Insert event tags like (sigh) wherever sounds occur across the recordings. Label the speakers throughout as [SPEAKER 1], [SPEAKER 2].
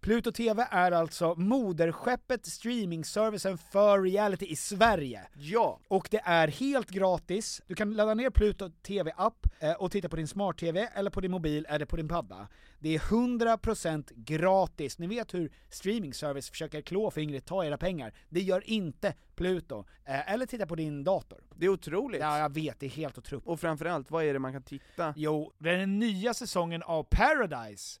[SPEAKER 1] Pluto TV är alltså moderskeppet, streamingservicen för reality i Sverige.
[SPEAKER 2] Ja!
[SPEAKER 1] Och det är helt gratis. Du kan ladda ner Pluto TV-app eh, och titta på din smart-TV, eller på din mobil, eller på din padda. Det är 100% gratis. Ni vet hur streamingservice försöker klå fingret, ta era pengar. Det gör inte Pluto. Eh, eller titta på din dator.
[SPEAKER 2] Det är otroligt.
[SPEAKER 1] Ja, jag vet, det är helt otroligt.
[SPEAKER 2] Och framförallt, vad är det man kan titta?
[SPEAKER 1] Jo, det är den nya säsongen av Paradise.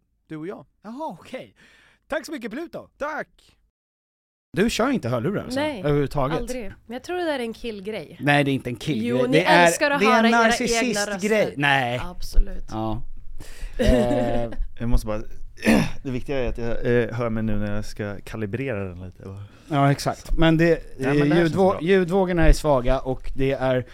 [SPEAKER 2] Du och jag.
[SPEAKER 1] Jaha, okej. Tack så mycket Pluto!
[SPEAKER 2] Tack!
[SPEAKER 1] Du kör inte hörlurar alltså?
[SPEAKER 3] Nej,
[SPEAKER 1] Överhuvudtaget?
[SPEAKER 3] aldrig. Men jag tror det där är en killgrej.
[SPEAKER 1] Nej, det är inte en killgrej.
[SPEAKER 3] Jo, ni
[SPEAKER 1] det är,
[SPEAKER 3] älskar att
[SPEAKER 1] det är
[SPEAKER 3] höra
[SPEAKER 1] en
[SPEAKER 3] era
[SPEAKER 1] narcissist
[SPEAKER 3] egna röster.
[SPEAKER 1] grej. Nej.
[SPEAKER 3] Absolut.
[SPEAKER 1] Ja.
[SPEAKER 4] Jag måste bara, (clears throat) det viktiga är att jag eh, hör mig nu när jag ska kalibrera den lite. bara.
[SPEAKER 1] Ja exakt, men det,
[SPEAKER 4] Nej, men det här
[SPEAKER 1] ljudvå-
[SPEAKER 4] känns bra.
[SPEAKER 1] ljudvågorna är svaga och det är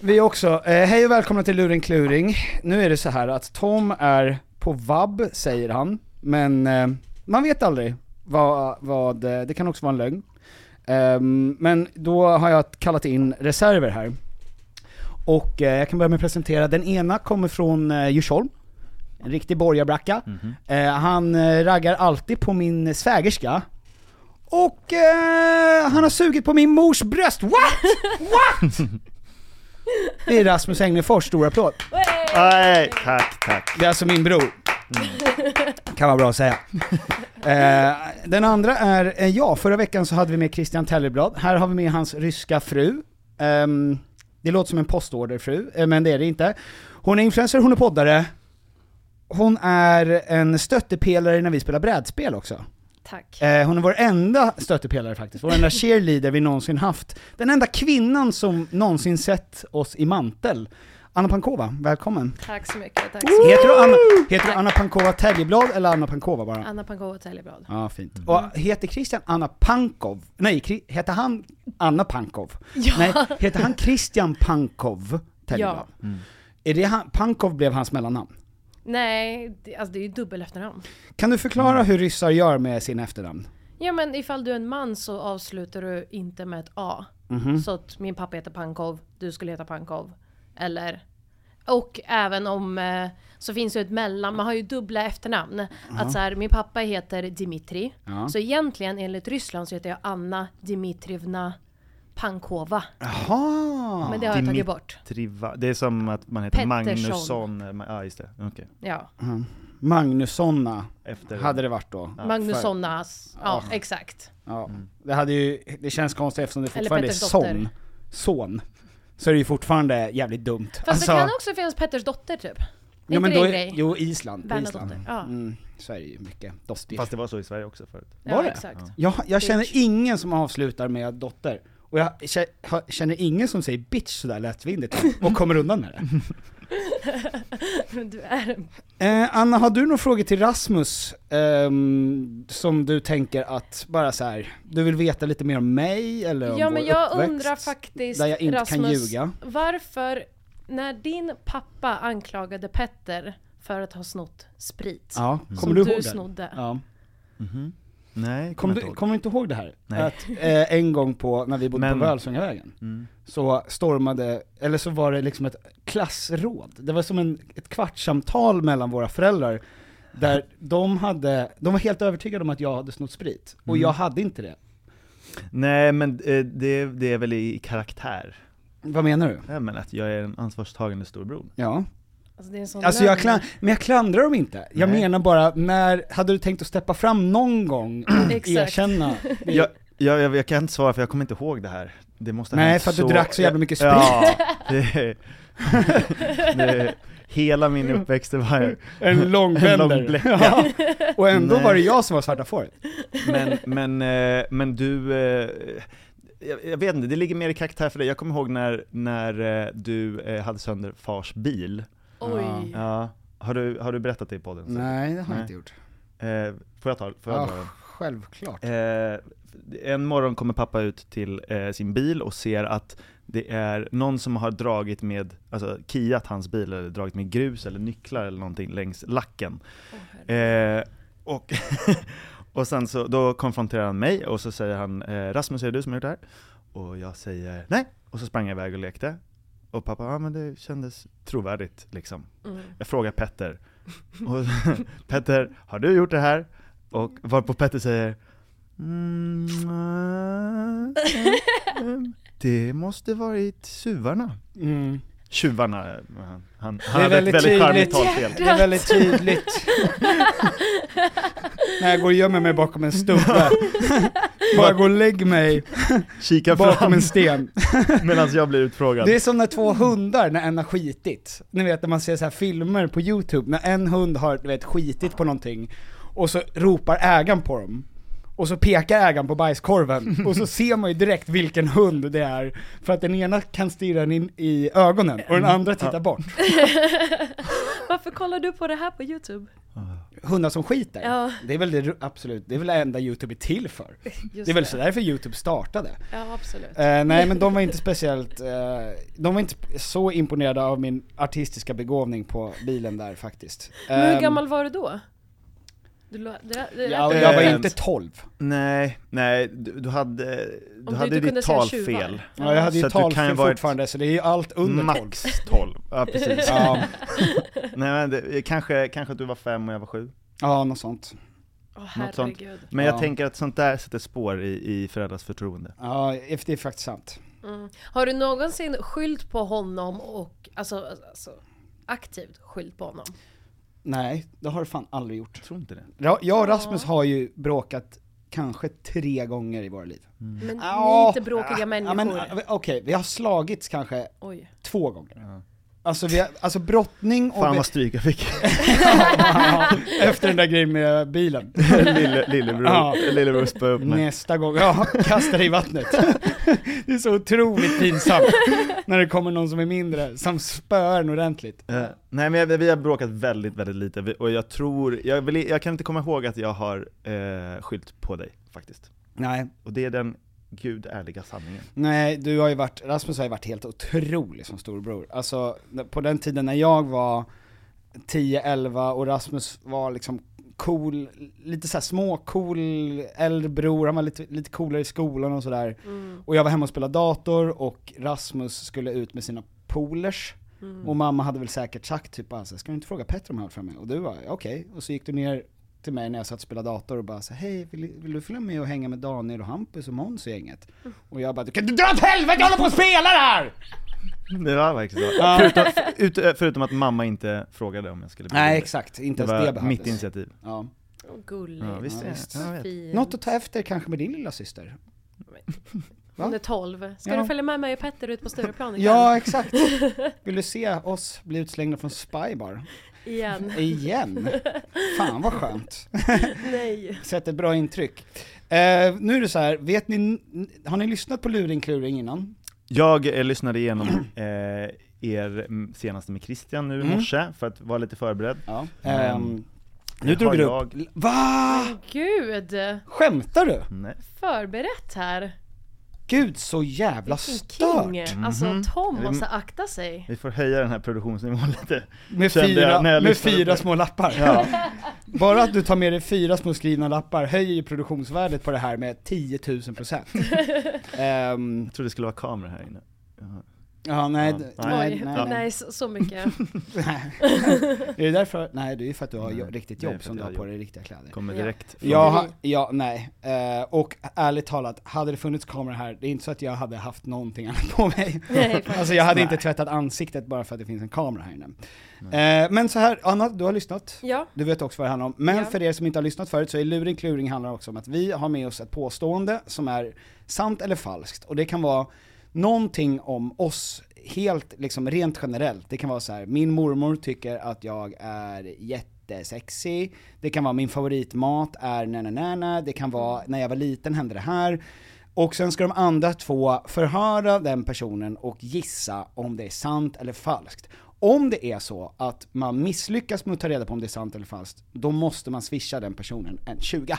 [SPEAKER 1] vi också. Eh, hej och välkomna till Luren Kluring. Nu är det så här att Tom är på vab, säger han, men eh, man vet aldrig vad, vad eh, det kan också vara en lögn. Ehm, men då har jag kallat in reserver här. Och eh, jag kan börja med att presentera, den ena kommer från eh, Djursholm, en riktig borgarbracka.
[SPEAKER 4] Mhm.
[SPEAKER 1] Eh, han eh, raggar alltid på min svägerska. Och eh, han har sugit på min mors bröst. What? What? Det är Rasmus Englefors, stor applåd.
[SPEAKER 4] Nej, tack, tack.
[SPEAKER 1] Det är alltså min bror. Kan vara bra att säga. Eh, den andra är, eh, ja, förra veckan så hade vi med Christian Tellerblad. Här har vi med hans ryska fru. Ehm, det låter som en postorderfru, eh, men det är det inte. Hon är influencer, hon är poddare. Hon är en stöttepelare när vi spelar brädspel också.
[SPEAKER 3] Tack.
[SPEAKER 1] Eh, hon är vår enda stöttepelare faktiskt, vår enda cheerleader vi någonsin haft. Den enda kvinnan som någonsin sett oss i mantel. Anna Pankova, välkommen.
[SPEAKER 3] Tack så mycket. Tack så mycket.
[SPEAKER 1] Heter du Anna, heter du Anna Pankova Tägeblad eller Anna Pankova bara?
[SPEAKER 3] Anna Pankova Teljeblad.
[SPEAKER 1] Ja, fint. Och heter Christian Anna Pankov? Nej, Kri- heter han Anna Pankov? Nej, heter han Christian Pankov Tägeblad? Är det han, Pankov blev hans mellannamn.
[SPEAKER 3] Nej, det, alltså det är ju dubbel efternamn.
[SPEAKER 1] Kan du förklara hur ryssar gör med sin efternamn?
[SPEAKER 3] Ja men ifall du är en man så avslutar du inte med ett A.
[SPEAKER 4] Mhm.
[SPEAKER 3] Så att min pappa heter Pankov, du skulle heta Pankov. Eller... Och även om... eh, Så finns ju ett mellan, man har ju dubbla efternamn. Att så här, min pappa heter Dimitri. Så egentligen enligt Ryssland så heter jag Anna Dimitrivna Pankova.
[SPEAKER 1] Jaha!
[SPEAKER 3] Men det har jag tagit
[SPEAKER 4] Dimit-
[SPEAKER 3] bort.
[SPEAKER 4] Triva. Det är som att man heter
[SPEAKER 3] Pettersson.
[SPEAKER 4] Magnusson, eh, ja just det, okej.
[SPEAKER 3] Ja.
[SPEAKER 1] Magnussonna
[SPEAKER 4] Efter
[SPEAKER 1] hade det Ah. varit då.
[SPEAKER 3] Magnussonas. Ja, exakt.
[SPEAKER 1] Ja. Det, hade ju, det känns konstigt eftersom det
[SPEAKER 3] Eller
[SPEAKER 1] fortfarande är
[SPEAKER 3] Petters
[SPEAKER 1] son.
[SPEAKER 3] dotter.
[SPEAKER 1] Son. Så är det ju fortfarande jävligt dumt.
[SPEAKER 3] Fast det
[SPEAKER 1] Alltså-
[SPEAKER 3] kan också finnas Petters dotter typ. Är
[SPEAKER 1] jo, men
[SPEAKER 3] inte
[SPEAKER 1] då,
[SPEAKER 3] det en grej?
[SPEAKER 1] jo, Island. på Island.
[SPEAKER 3] Bernadotte. Ja.
[SPEAKER 1] Mm, så är det ju mycket. Dotter.
[SPEAKER 4] Fast det var så i Sverige också förut.
[SPEAKER 3] ja,
[SPEAKER 1] var det?
[SPEAKER 3] exakt.
[SPEAKER 1] jag, jag känner
[SPEAKER 3] Bitch.
[SPEAKER 1] ingen som avslutar med dotter. Och Och jag kä- har- känner ingen som säger bitch sådär lättvindigt och kommer undan med
[SPEAKER 3] (laughs)
[SPEAKER 1] det.
[SPEAKER 3] Du är en
[SPEAKER 1] Eh, Anna, har du några frågor till Rasmus ehm, som du tänker att, bara så här, du vill veta lite mer om mig eller om
[SPEAKER 3] Ja
[SPEAKER 1] vår
[SPEAKER 3] men jag
[SPEAKER 1] uppväxt,
[SPEAKER 3] undrar faktiskt
[SPEAKER 1] där jag inte
[SPEAKER 3] Rasmus,
[SPEAKER 1] kan ljuga.
[SPEAKER 3] varför när din pappa anklagade Petter för att ha snott sprit
[SPEAKER 1] Ja,
[SPEAKER 3] som
[SPEAKER 1] kommer du ihåg
[SPEAKER 3] du
[SPEAKER 1] det?
[SPEAKER 3] snodde.
[SPEAKER 1] Mm. Ja.
[SPEAKER 4] Nej,
[SPEAKER 1] Kommer
[SPEAKER 4] kommer
[SPEAKER 1] du,
[SPEAKER 4] inte ihåg.
[SPEAKER 1] kommer du inte ihåg det här?
[SPEAKER 4] Nej.
[SPEAKER 1] Att eh, en gång på, när vi bodde
[SPEAKER 4] Men-
[SPEAKER 1] på Völsungavägen, så stormade, eller så var det liksom ett klassråd. Det var som en, ett kvartssamtal mellan våra föräldrar, där de hade, de var helt övertygade om att jag hade snott sprit, och jag hade inte det.
[SPEAKER 4] Nej men eh, det, det är väl i karaktär.
[SPEAKER 1] Vad menar du?
[SPEAKER 4] Nej, men att jag är en ansvarstagande storbror.
[SPEAKER 1] Ja.
[SPEAKER 3] Alltså, det är en sån
[SPEAKER 1] Alltså jag
[SPEAKER 3] lögn.
[SPEAKER 1] klan, men jag klandrar dem inte. Jag
[SPEAKER 4] Nej.
[SPEAKER 1] menar bara, när, hade du tänkt att steppa fram någon gång och
[SPEAKER 3] Exakt.
[SPEAKER 1] erkänna? det?
[SPEAKER 4] Jag, jag, jag, jag kan inte svara för jag kommer inte ihåg det här. Det måste ha
[SPEAKER 1] Nej,
[SPEAKER 4] hänt
[SPEAKER 1] för att du drack så jävla mycket sprit.
[SPEAKER 4] Ja, det,
[SPEAKER 1] (laughs)
[SPEAKER 4] det, hela min uppväxt det var
[SPEAKER 1] En lång
[SPEAKER 4] En lång
[SPEAKER 1] bender.
[SPEAKER 4] bläcka.
[SPEAKER 1] ja. Och ändå
[SPEAKER 4] Nej.
[SPEAKER 1] var det jag som var svarta fåret.
[SPEAKER 4] Men, men, eh, men du, eh, jag, jag vet inte, det ligger mer i karaktär för dig. Jag kommer ihåg när, när eh, du eh, hade sönder fars bil.
[SPEAKER 3] Oj.
[SPEAKER 4] Ja. Har, du, har du berättat det i podden?
[SPEAKER 1] Nej, det har
[SPEAKER 4] Nej.
[SPEAKER 1] jag inte gjort.
[SPEAKER 4] Eh, får jag ta, får jag
[SPEAKER 1] Ja,
[SPEAKER 4] ta den?
[SPEAKER 1] självklart.
[SPEAKER 4] Eh, en morgon kommer pappa ut till eh, sin bil och ser att det är någon som har dragit med, alltså kiat hans bil eller dragit med grus eller nycklar eller någonting längs lacken. eh, och, (laughs) och sen så, då konfronterar han mig och så säger han eh, Rasmus är det du som har gjort det här? Och jag säger nej, och så sprang jag iväg och lekte. Och pappa, ja men det kändes trovärdigt liksom. Jag frågar Petter, och Petter, har du gjort det här? Och varpå Petter säger Mm, äh, det måste varit suvarna.
[SPEAKER 1] Mm.
[SPEAKER 4] Tjuvarna, eh, han, han
[SPEAKER 1] Det är
[SPEAKER 4] hade
[SPEAKER 1] väldigt
[SPEAKER 4] ett väldigt charmigt
[SPEAKER 1] tydligt.
[SPEAKER 4] talfel.
[SPEAKER 1] Det är
[SPEAKER 4] (laughs)
[SPEAKER 1] väldigt tydligt. När jag går och gömmer mig bakom
[SPEAKER 4] (laughs)
[SPEAKER 1] en stubbe. Bara gå och lägg mig
[SPEAKER 4] Kika
[SPEAKER 1] bakom
[SPEAKER 4] fram
[SPEAKER 1] en sten.
[SPEAKER 4] (laughs) medan jag blir utfrågad.
[SPEAKER 1] Det är som när två hundar, när en har skitit. Ni vet när man ser så här filmer på youtube, när en hund har du vet, skitit på någonting, och så ropar ägaren på dem. Och så pekar ägaren
[SPEAKER 4] (laughs)
[SPEAKER 1] på bajskorven, och så ser man ju direkt vilken hund det är, för att den ena kan stirra den in i ögonen, och
[SPEAKER 4] Mm.
[SPEAKER 1] den andra tittar bort.
[SPEAKER 3] Varför kollar du på det här på youtube?
[SPEAKER 1] Hundar som skiter,
[SPEAKER 3] Ja.
[SPEAKER 1] det är väl det ru- absolut, det är väl det enda youtube är till för.
[SPEAKER 3] (laughs) Just
[SPEAKER 1] det är väl så därför youtube startade.
[SPEAKER 3] Ja absolut.
[SPEAKER 1] Eh, nej men de var inte speciellt, eh, de var inte så imponerade av min artistiska begåvning på bilen där faktiskt.
[SPEAKER 3] Men hur
[SPEAKER 1] Ehm,
[SPEAKER 3] gammal var du då? Du, lo- det, det,
[SPEAKER 1] Ja, och
[SPEAKER 3] det- Ehm,
[SPEAKER 1] jag var
[SPEAKER 4] Eh,
[SPEAKER 1] inte 12.
[SPEAKER 4] Nej, nej, du, du hade,
[SPEAKER 3] Om
[SPEAKER 4] du hade
[SPEAKER 3] inte kunde
[SPEAKER 4] ditt
[SPEAKER 3] säga
[SPEAKER 4] talfel.
[SPEAKER 3] tjuvar.
[SPEAKER 1] Ja, jag hade
[SPEAKER 4] Så
[SPEAKER 1] ju
[SPEAKER 4] att du kan ju
[SPEAKER 1] talfel
[SPEAKER 4] varit
[SPEAKER 1] fortfarande så det är ju allt under 12.
[SPEAKER 4] Max 12. Ja, precis.
[SPEAKER 1] Ja,
[SPEAKER 4] Nej, men det, kanske, kanske att du var fem och jag var sju.
[SPEAKER 1] ja, något sånt.
[SPEAKER 3] Åh
[SPEAKER 4] Något sånt.
[SPEAKER 3] herregud.
[SPEAKER 4] Men
[SPEAKER 1] Ja.
[SPEAKER 4] jag tänker att sånt där sätter spår i, i föräldrars förtroende.
[SPEAKER 1] Ja, det är faktiskt sant.
[SPEAKER 3] Har du någonsin skyllt på honom och alltså, alltså aktivt skyllt på honom?
[SPEAKER 1] Nej, det har du fan aldrig gjort.
[SPEAKER 4] Jag tror inte det.
[SPEAKER 1] Ja, Jag och Rasmus har ju bråkat kanske tre gånger i våra liv.
[SPEAKER 3] Men ni är
[SPEAKER 1] Ja,
[SPEAKER 3] inte bråkiga
[SPEAKER 1] Ja,
[SPEAKER 3] människor.
[SPEAKER 1] men ah, okej, vi har slagits kanske (laughs)
[SPEAKER 3] Oj.
[SPEAKER 1] två gånger. Alltså, vi har, alltså brottning och...
[SPEAKER 4] Fan
[SPEAKER 1] vi-
[SPEAKER 4] vad stryk jag fick.
[SPEAKER 1] efter den där grejen med (laughs) bilen.
[SPEAKER 4] Lille, lillebror,
[SPEAKER 1] Ja.
[SPEAKER 4] lillebror spöade upp mig.
[SPEAKER 1] Nästa gång, ja, kasta dig i (laughs) vattnet. Det är så otroligt pinsamt när det kommer någon som är mindre, som spöar en ordentligt.
[SPEAKER 4] Eh, nej men jag, vi har bråkat väldigt, väldigt lite Vi- och jag tror, jag, vill, jag kan inte komma ihåg att jag har eh, skylt på dig faktiskt.
[SPEAKER 1] Nej,
[SPEAKER 4] Och det är den gudärliga sanningen.
[SPEAKER 1] nej, du har ju varit, Rasmus har ju varit helt otrolig som storbror. Alltså, på den tiden när jag var 10-11 och Rasmus var liksom cool, lite såhär små, cool äldre bror, han var lite, lite coolare i skolan och sådär. Och jag var hemma och spelade dator och Rasmus skulle ut med sina polers. Och mamma hade väl säkert sagt typ bara så här, ska du inte fråga Petter om han för mig? Och du var okej, och så gick du ner till mig när jag satt och spelade dator och bara så här, hej vill, vill du följa med och hänga med Daniel och Hampus och Måns och gänget? Och jag bara, du kan du dra åt helvete jag håller på och spelar här!
[SPEAKER 4] Det var verkligen så. Förutom, ut, eh, förutom att mamma inte frågade om jag skulle bli
[SPEAKER 1] Nej
[SPEAKER 4] bjuden.
[SPEAKER 1] exakt, inte
[SPEAKER 4] Det
[SPEAKER 1] ens det
[SPEAKER 4] var mitt
[SPEAKER 1] behövdes.
[SPEAKER 4] initiativ.
[SPEAKER 1] Ja.
[SPEAKER 3] Åh, Gullig.
[SPEAKER 4] Ja, visst,
[SPEAKER 1] Ja,
[SPEAKER 4] ja,
[SPEAKER 1] visst.
[SPEAKER 4] jag vet.
[SPEAKER 3] Fin.
[SPEAKER 1] Något att ta efter kanske med din lilla syster. Va?
[SPEAKER 3] Hon är 12. Ska
[SPEAKER 1] Ja.
[SPEAKER 3] du följa med mig och Petter ut på Stureplan ikväll?
[SPEAKER 1] Ja, exakt. Vill du se oss bli utslängda från Spybar?
[SPEAKER 3] Igen.
[SPEAKER 1] Igen? Fan vad skönt. (laughs)
[SPEAKER 3] Nej.
[SPEAKER 1] Sätter bra intryck. Eh, nu är det så här, vet ni, har ni lyssnat på Luring Kluring innan?
[SPEAKER 4] Jag eh, lyssnade igenom eh, er mm, senaste med Christian nu i
[SPEAKER 1] Mm.
[SPEAKER 4] morse, för att vara lite förberedd.
[SPEAKER 1] Ja.
[SPEAKER 4] Ehm,
[SPEAKER 1] nu drog
[SPEAKER 4] har
[SPEAKER 1] du upp...
[SPEAKER 4] jag- Mm.
[SPEAKER 1] Va?
[SPEAKER 3] Gud!
[SPEAKER 1] Skämtar du?
[SPEAKER 4] Nej.
[SPEAKER 3] Förberett här.
[SPEAKER 1] Gud så jävla
[SPEAKER 3] Vilken
[SPEAKER 1] stört!
[SPEAKER 3] king. Alltså Tom
[SPEAKER 4] Mm.
[SPEAKER 3] måste akta sig.
[SPEAKER 4] Vi får höja den här produktionsnivån lite.
[SPEAKER 1] Med
[SPEAKER 4] Kände jag
[SPEAKER 1] fyra,
[SPEAKER 4] när jag
[SPEAKER 1] med
[SPEAKER 4] lyssnade på
[SPEAKER 1] fyra
[SPEAKER 4] det.
[SPEAKER 1] små lappar.
[SPEAKER 4] Ja.
[SPEAKER 1] (laughs) Bara att du tar med dig fyra små skrivna lappar höjer ju produktionsvärdet på det här med 10 000 procent. Ehm,
[SPEAKER 4] Jag trodde det skulle vara kamera här inne.
[SPEAKER 1] ja, nej,
[SPEAKER 4] Ja.
[SPEAKER 1] d-
[SPEAKER 4] Nej.
[SPEAKER 1] nej,
[SPEAKER 3] Oj,
[SPEAKER 1] nej, nej.
[SPEAKER 3] nej så, så mycket.
[SPEAKER 1] (laughs)
[SPEAKER 3] (laughs)
[SPEAKER 1] Är det därför? Nej, det är ju för att du har
[SPEAKER 4] Nej,
[SPEAKER 1] jo- riktigt
[SPEAKER 4] det är
[SPEAKER 1] jobb
[SPEAKER 4] för
[SPEAKER 1] som
[SPEAKER 4] att
[SPEAKER 1] du
[SPEAKER 4] jag
[SPEAKER 1] har
[SPEAKER 4] har
[SPEAKER 1] på
[SPEAKER 4] jobb.
[SPEAKER 1] dig riktiga kläder.
[SPEAKER 4] Kommer
[SPEAKER 3] Ja.
[SPEAKER 4] direkt från...
[SPEAKER 1] Jag ha, ja, nej. Eh, och ärligt talat, hade det funnits kameror här, det är inte så att jag hade haft någonting annat på mig.
[SPEAKER 3] (laughs) Nej, faktiskt.
[SPEAKER 1] alltså jag hade inte tvättat ansiktet bara för att det finns en kamera här inne. Eh, men så här, Anna, du har lyssnat.
[SPEAKER 3] Ja.
[SPEAKER 1] Du vet också vad det handlar om. Men
[SPEAKER 3] Ja.
[SPEAKER 1] för er som inte har lyssnat förut så är luring kluring handlar också om att vi har med oss ett påstående som är sant eller falskt. Och det kan vara någonting om oss, helt liksom rent generellt. Det kan vara så här: min mormor tycker att jag är jättesexig. Det kan vara min favoritmat är nananana. Det kan vara när jag var liten hände det här. Och sen ska de andra två förhöra den personen och gissa om det är sant eller falskt. Om det är så att man misslyckas med att ta reda på om det är sant eller falskt, då måste man swisha den personen en 20.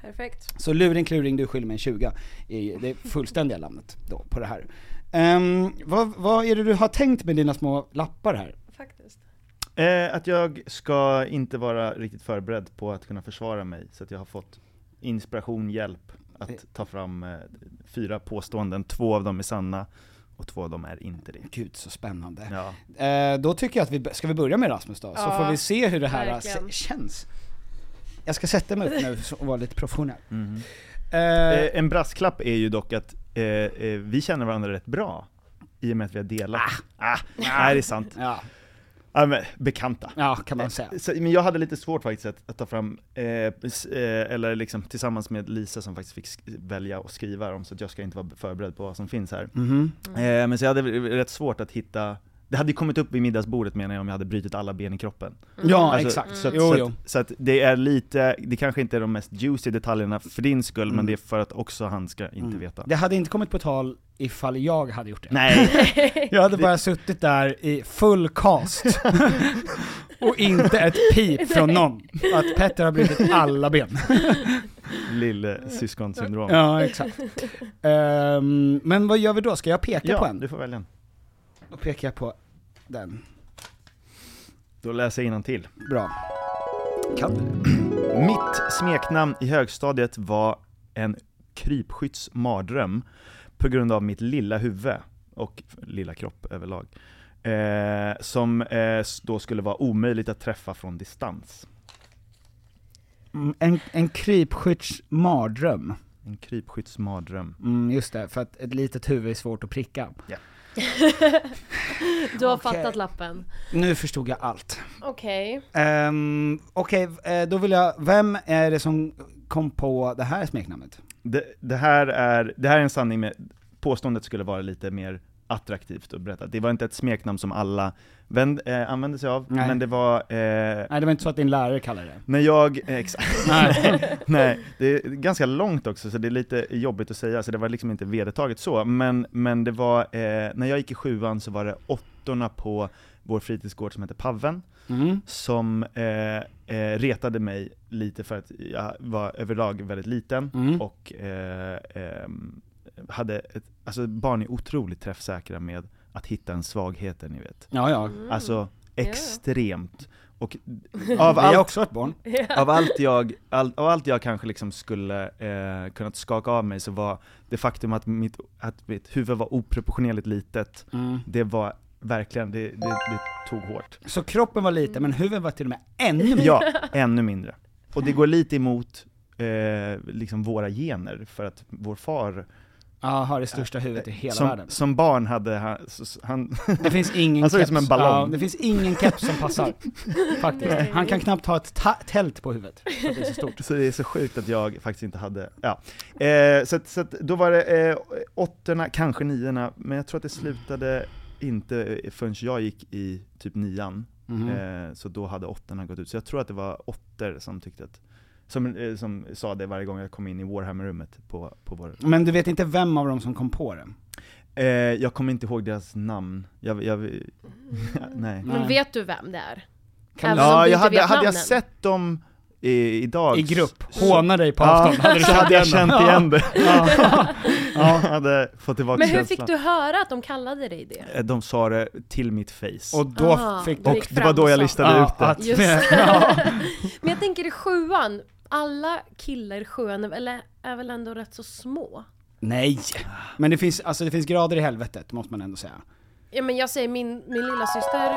[SPEAKER 3] Perfekt.
[SPEAKER 1] Så luring kluring, du skyller mig en 20 är ju det fullständiga namnet då på det här. Ehm, vad, vad är det du har tänkt med dina små lappar här?
[SPEAKER 3] Faktiskt.
[SPEAKER 4] Eh, att jag ska inte vara riktigt förberedd på att kunna försvara mig, så att jag har fått inspiration, hjälp att ta fram eh, fyra påståenden. Två av dem är sanna och två av dem är inte det.
[SPEAKER 1] Gud så spännande.
[SPEAKER 4] Ja.
[SPEAKER 1] Eh, då tycker jag att vi, b- ska vi börja med Rasmus då? Så
[SPEAKER 3] Ja,
[SPEAKER 1] får vi se hur det här
[SPEAKER 3] verkligen.
[SPEAKER 1] se- känns. Jag ska sätta mig upp nu så- och vara lite professionell.
[SPEAKER 4] Mhm.
[SPEAKER 1] Eh,
[SPEAKER 4] Eh, en brasklapp är ju dock att eh, eh, vi känner varandra rätt bra, i och med att vi har delat. Ah, nej, det är sant.
[SPEAKER 1] ja,
[SPEAKER 4] Ah, men, bekanta.
[SPEAKER 1] ja, kan man säga.
[SPEAKER 4] Så, men jag hade lite svårt faktiskt att, att ta fram, eh, s- eh, eller liksom tillsammans med Lisa som faktiskt fick sk- välja och skriva dem, så att jag ska inte vara förberedd på vad som finns här. Eh, men så jag hade väl rätt svårt att hitta, det hade ju kommit upp vid middagsbordet menar jag om jag hade brutit alla ben i kroppen.
[SPEAKER 1] Ja,
[SPEAKER 4] Alltså,
[SPEAKER 1] exakt. Mm.
[SPEAKER 4] Så, att,
[SPEAKER 1] Jo,
[SPEAKER 4] så,
[SPEAKER 1] jo.
[SPEAKER 4] att, så att det är lite, det kanske inte är de mest juicy detaljerna för din skull,
[SPEAKER 1] Mm.
[SPEAKER 4] men det är för att också han ska inte veta.
[SPEAKER 1] Det hade inte kommit på tal ifall jag hade gjort det.
[SPEAKER 4] Nej,
[SPEAKER 1] (laughs) Jag hade bara suttit där i full
[SPEAKER 4] (laughs)
[SPEAKER 1] cast. och inte ett pip från någon. Att Petter har brutit alla ben.
[SPEAKER 4] (laughs) lille syskonsyndrom.
[SPEAKER 1] ja, exakt. Ehm, men vad gör vi då? Ska jag peka på
[SPEAKER 4] Ja,
[SPEAKER 1] en?
[SPEAKER 4] du får välja en.
[SPEAKER 1] Då pekar jag på den.
[SPEAKER 4] Då läser jag till.
[SPEAKER 1] Bra. Kan (clears throat) du?
[SPEAKER 4] Mitt smeknamn i högstadiet var en krypskytts mardröm på grund av mitt lilla huvud och lilla kropp överlag. Eh, som eh, s- då skulle vara omöjligt att träffa från distans.
[SPEAKER 1] Mm, En, en krypskytts mardröm.
[SPEAKER 4] En krypskytts mardröm.
[SPEAKER 1] Mm, just det, för att ett litet huvud är svårt att pricka.
[SPEAKER 3] Du har
[SPEAKER 1] Okej.
[SPEAKER 3] fattat lappen.
[SPEAKER 1] Nu förstod jag allt.
[SPEAKER 3] Okej.
[SPEAKER 1] Um, Okej, eh, då vill jag, vem är det som kom på det här smeknamnet?
[SPEAKER 4] Det, det, här är, det här är en sanning med, påståendet skulle vara lite mer attraktivt att berätta. Det var inte ett smeknamn som alla vänd, eh, använde sig av,
[SPEAKER 1] Nej.
[SPEAKER 4] men det var eh,
[SPEAKER 1] Nej det var inte så att din lärare kallade det.
[SPEAKER 4] När jag, eh, exakt, nej, (laughs) nej, det är ganska långt också så det är lite jobbigt att säga, så det var liksom inte vedertaget så, men, men det var, eh, när jag gick i sjuan så var det åttorna på vår fritidsgård som hette Paven,
[SPEAKER 1] Mm.
[SPEAKER 4] som eh, eh, retade mig lite för att jag var överlag väldigt liten
[SPEAKER 1] Mm.
[SPEAKER 4] och eh, ehm, hade, ett, alltså barn är otroligt träffsäkra med att hitta en svagheter ni vet.
[SPEAKER 1] Ja, ja.
[SPEAKER 4] Alltså
[SPEAKER 3] Mm. ja.
[SPEAKER 4] extremt. Och
[SPEAKER 1] Av
[SPEAKER 4] av
[SPEAKER 1] Vi har
[SPEAKER 4] allt
[SPEAKER 1] också varit barn.
[SPEAKER 4] av allt jag, all, av allt jag kanske liksom skulle eh, kunnat skaka av mig så var det faktum att mitt, att mitt huvud var oproportionerligt litet,
[SPEAKER 1] Mm.
[SPEAKER 4] det var verkligen, det, det, det tog hårt.
[SPEAKER 1] Så kroppen var liten, men huvudet var till och med ännu mindre.
[SPEAKER 4] Ja, ännu mindre. Och det går lite emot eh, liksom våra gener, för att vår far
[SPEAKER 1] Ja, har det största huvudet i hela
[SPEAKER 4] Som,
[SPEAKER 1] världen.
[SPEAKER 4] som barn hade han, s- han
[SPEAKER 1] Det finns ingen
[SPEAKER 4] Han ser ut
[SPEAKER 1] keps.
[SPEAKER 4] som en ballong.
[SPEAKER 1] Ja, det finns ingen keps som passar. Faktiskt. Han kan knappt ha ett ta- tält på huvudet. För att det är så stort.
[SPEAKER 4] Så det är så sjukt att jag faktiskt inte hade, ja. Eh, så att, så att då var det eh, åttorna, kanske niorna, men jag tror att det slutade inte eh, förrän jag gick i typ nian. Eh, så då hade åttorna gått ut. Så jag tror att det var åttor som tyckte att, som, eh, som sa det varje gång jag kom in i Warhammer-rummet på, på vår...
[SPEAKER 1] Men du vet inte vem av dem som kom på det?
[SPEAKER 4] Eh, jag kommer inte ihåg deras namn. Jag, jag, nej.
[SPEAKER 1] Nej.
[SPEAKER 3] Men vet du vem det är?
[SPEAKER 1] Kan
[SPEAKER 3] Även om
[SPEAKER 4] Ja,
[SPEAKER 3] du inte
[SPEAKER 4] jag hade,
[SPEAKER 3] vet
[SPEAKER 4] hade jag
[SPEAKER 3] namnen.
[SPEAKER 4] sett dem i, idag
[SPEAKER 1] I grupp, håna dig på avstånd.
[SPEAKER 4] Ja, så hade jag känt
[SPEAKER 1] dem?
[SPEAKER 4] igen det.
[SPEAKER 1] Ja.
[SPEAKER 4] Ja, hade fått tillbaka
[SPEAKER 3] Men hur
[SPEAKER 4] känslan.
[SPEAKER 3] fick du höra att de kallade dig det?
[SPEAKER 4] Eh, De sa det till mitt face.
[SPEAKER 1] Och då
[SPEAKER 3] Ah,
[SPEAKER 1] fick
[SPEAKER 3] du
[SPEAKER 1] du...
[SPEAKER 3] gick
[SPEAKER 4] det
[SPEAKER 3] fram
[SPEAKER 4] var då jag
[SPEAKER 3] och sa-
[SPEAKER 4] listade ut det.
[SPEAKER 1] att,
[SPEAKER 3] Just
[SPEAKER 1] ja.
[SPEAKER 3] Men jag tänker i sjuan, alla killar i sjuan är väl, är väl ändå rätt så små?
[SPEAKER 1] (laughs) Nej! Men det finns, alltså det finns grader i helvetet, måste man ändå säga.
[SPEAKER 3] Ja men jag säger min, min lilla syster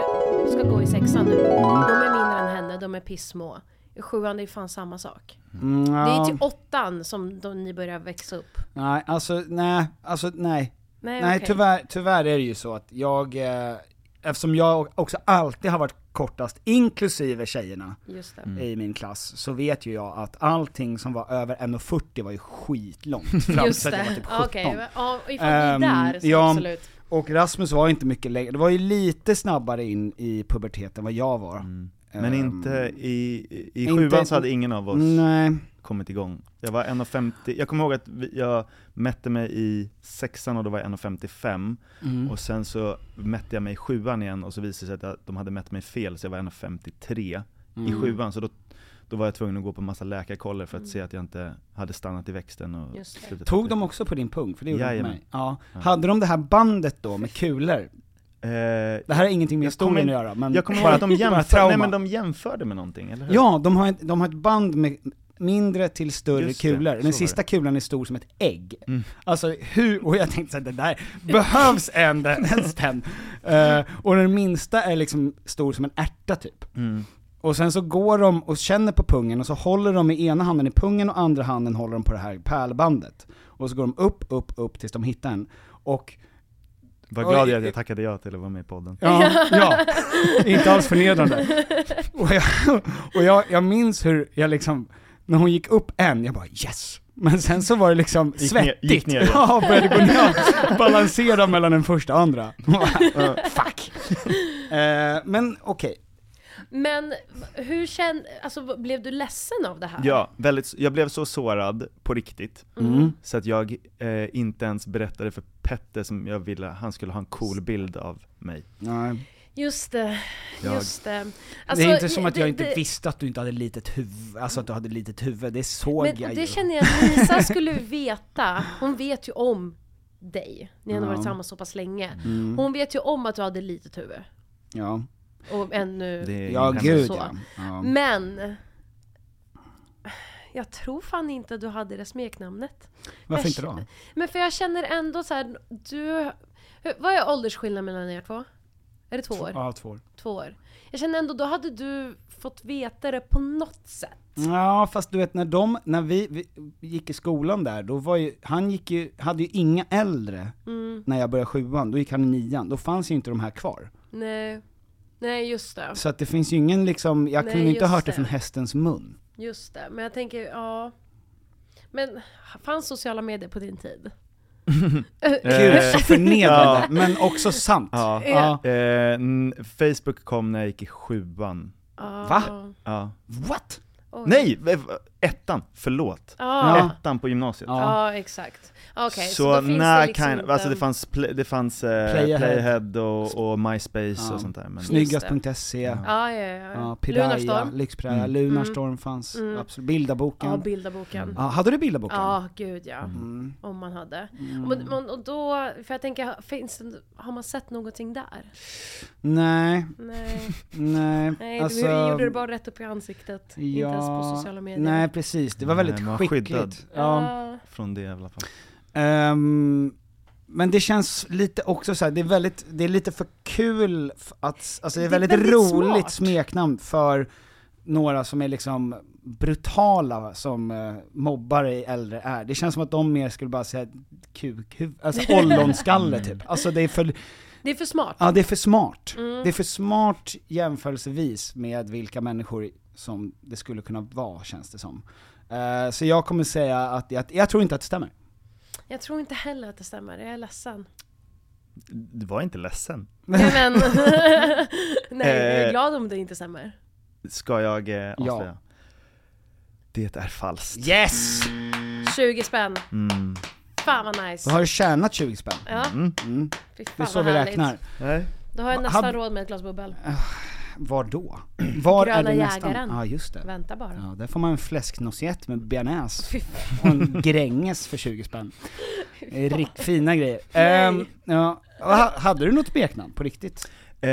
[SPEAKER 3] ska gå i sexan nu. De är mindre än henne, de är pissmå. I sjuan det är fan samma sak.
[SPEAKER 1] Mm,
[SPEAKER 3] Det är
[SPEAKER 1] ja.
[SPEAKER 3] till åttan som de, ni börjar växa upp.
[SPEAKER 1] Nej, alltså nej, alltså nej.
[SPEAKER 3] Nej,
[SPEAKER 1] Nej
[SPEAKER 3] okej.
[SPEAKER 1] tyvärr, tyvärr är det ju så att jag, eh, eftersom jag också alltid har varit kortast, inklusive tjejerna
[SPEAKER 3] Just det.
[SPEAKER 1] i min klass, så vet ju jag att allting som var över 1,40 var
[SPEAKER 3] (laughs)
[SPEAKER 1] ju skitlångt fram
[SPEAKER 3] Just
[SPEAKER 1] till att jag var
[SPEAKER 3] det.
[SPEAKER 1] typ 17.
[SPEAKER 3] Ja, Okej, ja ifall
[SPEAKER 1] Ehm,
[SPEAKER 3] vi är där så
[SPEAKER 1] ja,
[SPEAKER 3] absolut.
[SPEAKER 1] Och Rasmus var inte mycket längre, det var ju lite snabbare in i puberteten än vad jag var.
[SPEAKER 4] Mm.
[SPEAKER 1] Ehm.
[SPEAKER 4] Men inte i, i- i
[SPEAKER 1] inte-
[SPEAKER 4] sjuan så hade ingen av oss
[SPEAKER 1] Nej.
[SPEAKER 4] kommit igång. Jag var 1,50, jag kommer ihåg att vi, jag mätte mig i sexan och då var jag 1,55 och sen så mätte jag mig i sjuan igen och så visade det sig att jag- de hade mätt mig fel så jag var 1,53 i sjuan. Så då, då var jag tvungen att gå på massa läkarkoller för att se att jag inte hade stannat i växten och
[SPEAKER 3] Just det.
[SPEAKER 4] slutat
[SPEAKER 1] Tog
[SPEAKER 4] äta.
[SPEAKER 1] de också på din pung? För det gjorde de på
[SPEAKER 4] Jajamän.
[SPEAKER 1] mig. Ja. Hade de det här bandet då med kulor?
[SPEAKER 4] Eh,
[SPEAKER 1] Det här har ingenting med
[SPEAKER 4] Jag
[SPEAKER 1] historien att
[SPEAKER 4] kommer-
[SPEAKER 1] göra, men
[SPEAKER 4] Jag kommer ihåg
[SPEAKER 1] bara-
[SPEAKER 4] att de
[SPEAKER 1] (laughs) bara
[SPEAKER 4] jämförde,
[SPEAKER 1] trauma.
[SPEAKER 4] nej men de jämförde med någonting, eller hur?
[SPEAKER 1] Ja, de har, ett, de har ett band med mindre till större
[SPEAKER 4] Just det, Mm.
[SPEAKER 1] kulor.
[SPEAKER 4] så
[SPEAKER 1] Den
[SPEAKER 4] var
[SPEAKER 1] sista kulan är stor som ett ägg. Alltså hur, och jag tänkte såhär, det där, behövs en, (laughs) ens den? Eh, och den minsta är liksom stor som en ärta typ. Och sen så går de och känner på pungen och så håller de med ena handen i pungen och andra handen håller de på det här pärlbandet. Och så går de upp, upp, upp tills de hittar en. Och
[SPEAKER 4] Vad glad jag
[SPEAKER 1] Oj.
[SPEAKER 4] är att jag tackade ja till att vara med i podden.
[SPEAKER 1] Ja, ja. Inte alls förnedrande. Och, jag, och jag, jag minns hur jag liksom, när hon gick upp en, jag bara yes! Men sen så var det liksom
[SPEAKER 4] Gick ner-
[SPEAKER 1] svettigt.
[SPEAKER 4] gick ner igen.
[SPEAKER 1] ja, började gå ner. Balansera mellan den första och andra. Fuck! Eh, men okej.
[SPEAKER 3] Men hur kände, alltså v- blev du ledsen av det här?
[SPEAKER 4] Ja, väldigt, jag blev så sårad på riktigt, så att jag eh, inte ens berättade för Petter som jag ville, han skulle ha en cool bild av mig.
[SPEAKER 1] Nej.
[SPEAKER 3] Just det,
[SPEAKER 4] Jag-
[SPEAKER 3] just det.
[SPEAKER 1] det
[SPEAKER 3] Alltså,
[SPEAKER 1] är inte som att jag
[SPEAKER 3] det-
[SPEAKER 1] inte
[SPEAKER 3] det-
[SPEAKER 1] visste att du inte hade litet huvud, alltså att du hade litet huvud, det såg jag
[SPEAKER 3] Men
[SPEAKER 1] ju.
[SPEAKER 3] det känner jag att
[SPEAKER 1] (laughs)
[SPEAKER 3] Lisa skulle veta. Hon vet ju om dig. Ni har
[SPEAKER 1] Ja. Mm.
[SPEAKER 3] varit tillsammans så pass länge. Hon vet ju om att du hade litet huvud.
[SPEAKER 1] Ja,
[SPEAKER 3] Och ännu...
[SPEAKER 4] Det är
[SPEAKER 1] Eh, ja
[SPEAKER 4] ingen
[SPEAKER 1] gud
[SPEAKER 4] hemlighet.
[SPEAKER 3] Så. Mm.
[SPEAKER 1] ja. ja.
[SPEAKER 3] Men... Jag tror fan inte du hade det smeknamnet.
[SPEAKER 1] Varför
[SPEAKER 3] jag
[SPEAKER 1] inte då?
[SPEAKER 3] känner- Men för jag känner ändå så här, du... hur- Vad är åldersskillnaden mellan er två? Är det två år?
[SPEAKER 1] Ja, två år.
[SPEAKER 3] Två år. Jag känner ändå, då hade du fått veta det på något sätt.
[SPEAKER 1] Ja, fast du vet när de, när vi, vi gick i skolan där, då var ju, han gick ju, hade ju inga äldre
[SPEAKER 3] Mm.
[SPEAKER 1] när jag började sjuan, då gick han i nian, då fanns ju inte de här kvar.
[SPEAKER 3] Nej. Nej, just det.
[SPEAKER 1] Så att det finns ju ingen liksom, jag
[SPEAKER 3] Nej,
[SPEAKER 1] kunde inte ha
[SPEAKER 3] just
[SPEAKER 1] hört det.
[SPEAKER 3] det.
[SPEAKER 1] från hästens mun.
[SPEAKER 3] Just det, men jag tänker, ja. Men fanns sociala medier på din tid?
[SPEAKER 1] Kul, så förnedrande,
[SPEAKER 4] Eh. (laughs) Ja.
[SPEAKER 1] men också sant.
[SPEAKER 4] Ja.
[SPEAKER 1] Ja.
[SPEAKER 4] Eh, n- Facebook kom när jag gick i sjuan.
[SPEAKER 1] Va?
[SPEAKER 4] Ja.
[SPEAKER 1] What?
[SPEAKER 4] Nej! v- Ettan, förlåt.
[SPEAKER 3] Ja, ja.
[SPEAKER 4] Ettan på gymnasiet.
[SPEAKER 3] exakt. Okej,
[SPEAKER 4] så
[SPEAKER 3] så, då finns det
[SPEAKER 4] när
[SPEAKER 3] liksom
[SPEAKER 4] kind
[SPEAKER 3] inte...
[SPEAKER 4] alltså det fanns, pl- det fanns eh,
[SPEAKER 1] Playahead.
[SPEAKER 4] Playahead, och, och MySpace och sånt där. Men
[SPEAKER 1] Snyggast.se, E. ja.
[SPEAKER 3] Ja, ja, ja. ja
[SPEAKER 1] Piraya,
[SPEAKER 3] Lunarstorm. Mm.
[SPEAKER 1] Lyxpraia,
[SPEAKER 4] Mm.
[SPEAKER 1] Lunarstorm fanns, absolut. Bildaboken.
[SPEAKER 3] Ja,
[SPEAKER 1] Ja,
[SPEAKER 3] bildarboken.
[SPEAKER 4] Mm.
[SPEAKER 1] hade du Bildaboken? Mm.
[SPEAKER 3] Ja, gud ja. Om man hade.
[SPEAKER 4] Mm.
[SPEAKER 3] Men, men, och då, för jag tänker, finns det, har man sett någonting där?
[SPEAKER 1] Nej,
[SPEAKER 3] Nej,
[SPEAKER 1] nej. Alltså,
[SPEAKER 3] nej du
[SPEAKER 4] Alltså-
[SPEAKER 3] gjorde det bara rätt upp i ansiktet. Inte ens på sociala medier.
[SPEAKER 1] Nej precis, det var
[SPEAKER 4] Nej,
[SPEAKER 1] väldigt
[SPEAKER 4] man var
[SPEAKER 1] skickligt.
[SPEAKER 4] skyddad.
[SPEAKER 1] Ja.
[SPEAKER 3] Ja.
[SPEAKER 4] Från det i alla fall.
[SPEAKER 1] Ehm, men det känns lite också så här, det är väldigt, det är lite för kul f- att, alltså det är,
[SPEAKER 3] Det är
[SPEAKER 1] väldigt,
[SPEAKER 3] väldigt
[SPEAKER 1] roligt
[SPEAKER 3] smart.
[SPEAKER 1] smeknamn för några som är liksom brutala som eh, mobbare i äldre är. Det känns som att de mer skulle bara säga kukhuvud,
[SPEAKER 3] (laughs)
[SPEAKER 1] alltså ollonskalle typ. Alltså det är för,
[SPEAKER 3] Det är för smart.
[SPEAKER 1] ja det är för smart.
[SPEAKER 3] Mm.
[SPEAKER 1] Det är för smart jämförelsevis med vilka människor som det skulle kunna vara känns det som. Eh, så jag kommer säga att, jag, jag tror inte att det stämmer.
[SPEAKER 3] Jag tror inte heller att det stämmer, jag är ledsen.
[SPEAKER 4] Du var inte ledsen.
[SPEAKER 3] Nej
[SPEAKER 4] (laughs)
[SPEAKER 3] men, (laughs) nej jag är
[SPEAKER 4] Eh.
[SPEAKER 3] glad om det inte stämmer.
[SPEAKER 4] Ska jag eh, avslöja? Det är falskt.
[SPEAKER 1] Yes!
[SPEAKER 3] 20 spänn.
[SPEAKER 4] Mm.
[SPEAKER 3] Fan vad nice.
[SPEAKER 1] Då har du tjänat 20 spänn.
[SPEAKER 3] Ja.
[SPEAKER 1] Mm.
[SPEAKER 3] Fy fan
[SPEAKER 1] Det är så
[SPEAKER 3] vad
[SPEAKER 1] vi
[SPEAKER 3] härligt.
[SPEAKER 1] räknar.
[SPEAKER 4] Nej.
[SPEAKER 3] Då har jag nästan
[SPEAKER 1] Hab-
[SPEAKER 3] råd med ett glas bubbel.
[SPEAKER 1] Var då? Var
[SPEAKER 3] Gröna
[SPEAKER 1] är det nästan?
[SPEAKER 3] jägaren.
[SPEAKER 1] Ja, just det.
[SPEAKER 3] Vänta bara.
[SPEAKER 1] Ja, där får man en fläsknoisette med bearnaise
[SPEAKER 3] Fy
[SPEAKER 1] och en gränges för 20 spänn. Det är Rikt, fina grejer. Ehm, ja. Ha- Hade du något smeknamn på riktigt?
[SPEAKER 4] Eh,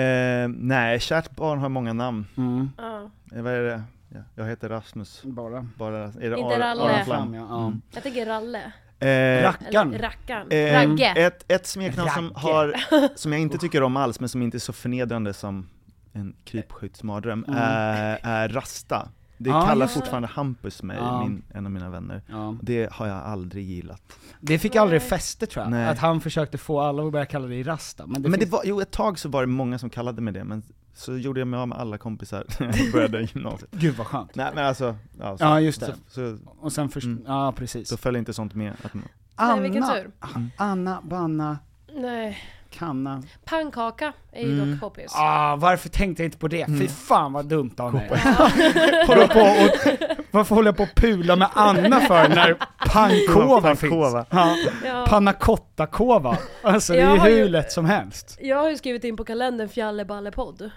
[SPEAKER 4] nej, kärt barn har många namn.
[SPEAKER 1] Mm.
[SPEAKER 3] Ja.
[SPEAKER 4] Eh, vad är det? Ja, jag heter Rasmus.
[SPEAKER 1] Bara.
[SPEAKER 4] Bara, är det
[SPEAKER 3] Inte
[SPEAKER 4] Ar-
[SPEAKER 3] Ralle.
[SPEAKER 4] Aron
[SPEAKER 1] Fram,
[SPEAKER 4] Flam?
[SPEAKER 1] ja. ja.
[SPEAKER 3] Jag tänker Ralle.
[SPEAKER 4] Eh,
[SPEAKER 3] Eller
[SPEAKER 1] Rackarn.
[SPEAKER 3] Rackarn.
[SPEAKER 4] Eh,
[SPEAKER 3] Ragge.
[SPEAKER 4] Ett, ett smeknamn som,
[SPEAKER 1] Ragge.
[SPEAKER 4] har,
[SPEAKER 1] (laughs)
[SPEAKER 4] som jag inte tycker om alls, men som inte är så förnedrande som en krypskyttsmardröm, är, är Rasta. Det
[SPEAKER 1] Mm. Ja,
[SPEAKER 4] kallar
[SPEAKER 1] just det.
[SPEAKER 4] fortfarande Hampus mig,
[SPEAKER 1] Ja.
[SPEAKER 4] min, en av mina vänner.
[SPEAKER 1] Ja.
[SPEAKER 4] Det har jag aldrig gillat.
[SPEAKER 1] Det fick aldrig fäste tror jag,
[SPEAKER 4] Nej.
[SPEAKER 1] att han försökte få alla att börja kalla dig Rasta. Men det,
[SPEAKER 4] men det
[SPEAKER 1] finns...
[SPEAKER 4] var, jo, ett tag så var det många som kallade mig det, men så gjorde jag mig av med alla kompisar (laughs) när jag började gymnasiet.
[SPEAKER 1] Gud vad skönt.
[SPEAKER 4] Nej men alltså, ja, så,
[SPEAKER 1] Ja, just det.
[SPEAKER 4] så, så,
[SPEAKER 1] Och sen först...
[SPEAKER 4] Mm.
[SPEAKER 1] ja precis.
[SPEAKER 4] så följer inte sånt med. Att,
[SPEAKER 3] Nej, vilken tur.
[SPEAKER 1] Anna, Banna,
[SPEAKER 3] Nej.
[SPEAKER 1] Kanna.
[SPEAKER 3] Pannkaka är ju
[SPEAKER 4] Mm.
[SPEAKER 3] dock poppis.
[SPEAKER 1] Ah, varför tänkte jag inte på det? Fy fan vad dumt av mig. (laughs) håller på och, varför håller jag på att pula med Anna
[SPEAKER 3] (laughs)
[SPEAKER 1] för när pannkova
[SPEAKER 4] Pankova.
[SPEAKER 1] finns? Ja, Pannacotta-kova. Alltså det
[SPEAKER 3] Jag
[SPEAKER 1] är
[SPEAKER 3] har
[SPEAKER 1] ju hur
[SPEAKER 3] ju-
[SPEAKER 1] lätt som helst.
[SPEAKER 3] Jag har ju skrivit in på kalendern fjälleballepodd.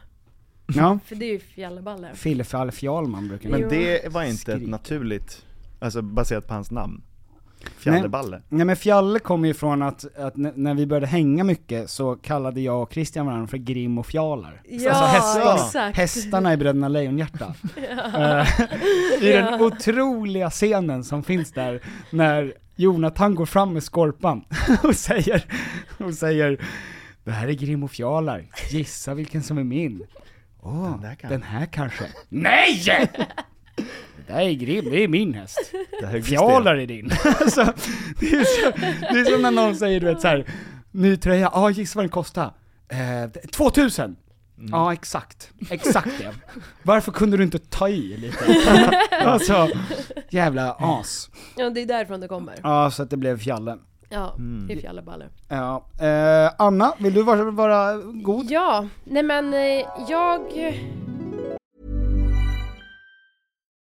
[SPEAKER 1] Ja.
[SPEAKER 3] För det är ju fjälleballe.
[SPEAKER 1] Fille Falf Jarlman brukar
[SPEAKER 4] men
[SPEAKER 1] men,
[SPEAKER 3] Jo.
[SPEAKER 4] det var inte
[SPEAKER 1] Skrik.
[SPEAKER 4] ett naturligt, alltså baserat på hans namn. Fjäderballe.
[SPEAKER 1] Nej men Fjalle kommer ju från att, att n- när vi började hänga mycket så kallade jag och Christian varandra för Grim och Fjalar.
[SPEAKER 4] alltså,
[SPEAKER 3] Ja, exakt.
[SPEAKER 1] hästarna i Bröderna Lejonhjärta. Eh, I den otroliga scenen som finns där när Jonathan går fram med Skorpan (laughs) och säger, och säger Det här är Grim och Fjalar, gissa vilken som är min. Åh, den,
[SPEAKER 4] där kanske.
[SPEAKER 1] här kanske. Nej! Det där är Grim, det är min häst.
[SPEAKER 4] Det här är
[SPEAKER 1] Fjalar är din. (laughs) alltså, det, är så, det är som när någon säger du vet så här, ny tröja, ja ah, gissa vad den kostar? Eh, 2000!
[SPEAKER 4] Mm.
[SPEAKER 1] Ja exakt, exakt det. Varför kunde du inte ta i lite? alltså, jävla as.
[SPEAKER 3] Ja, det är därifrån det kommer.
[SPEAKER 1] Ja, så att det blev fjalle.
[SPEAKER 3] Ja, det
[SPEAKER 4] Mm.
[SPEAKER 3] är fjälleballe.
[SPEAKER 1] Ja. Eh, Anna, vill du vara, vara god?
[SPEAKER 3] Ja, nej men eh, jag...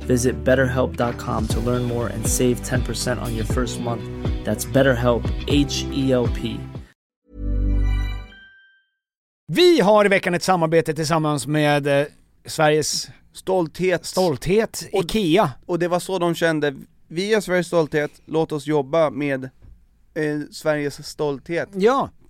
[SPEAKER 5] Visit betterhelp.com to learn more and save 10% on your first month. That's BetterHelp, H E L P.
[SPEAKER 1] Vi har i veckan ett samarbete tillsammans med eh, Sveriges
[SPEAKER 2] Stolthet.
[SPEAKER 1] stolthet, IKEA.
[SPEAKER 2] Och det var så de kände, vi är Sveriges stolthet, låt oss jobba med eh, Sveriges stolthet.
[SPEAKER 1] Ja,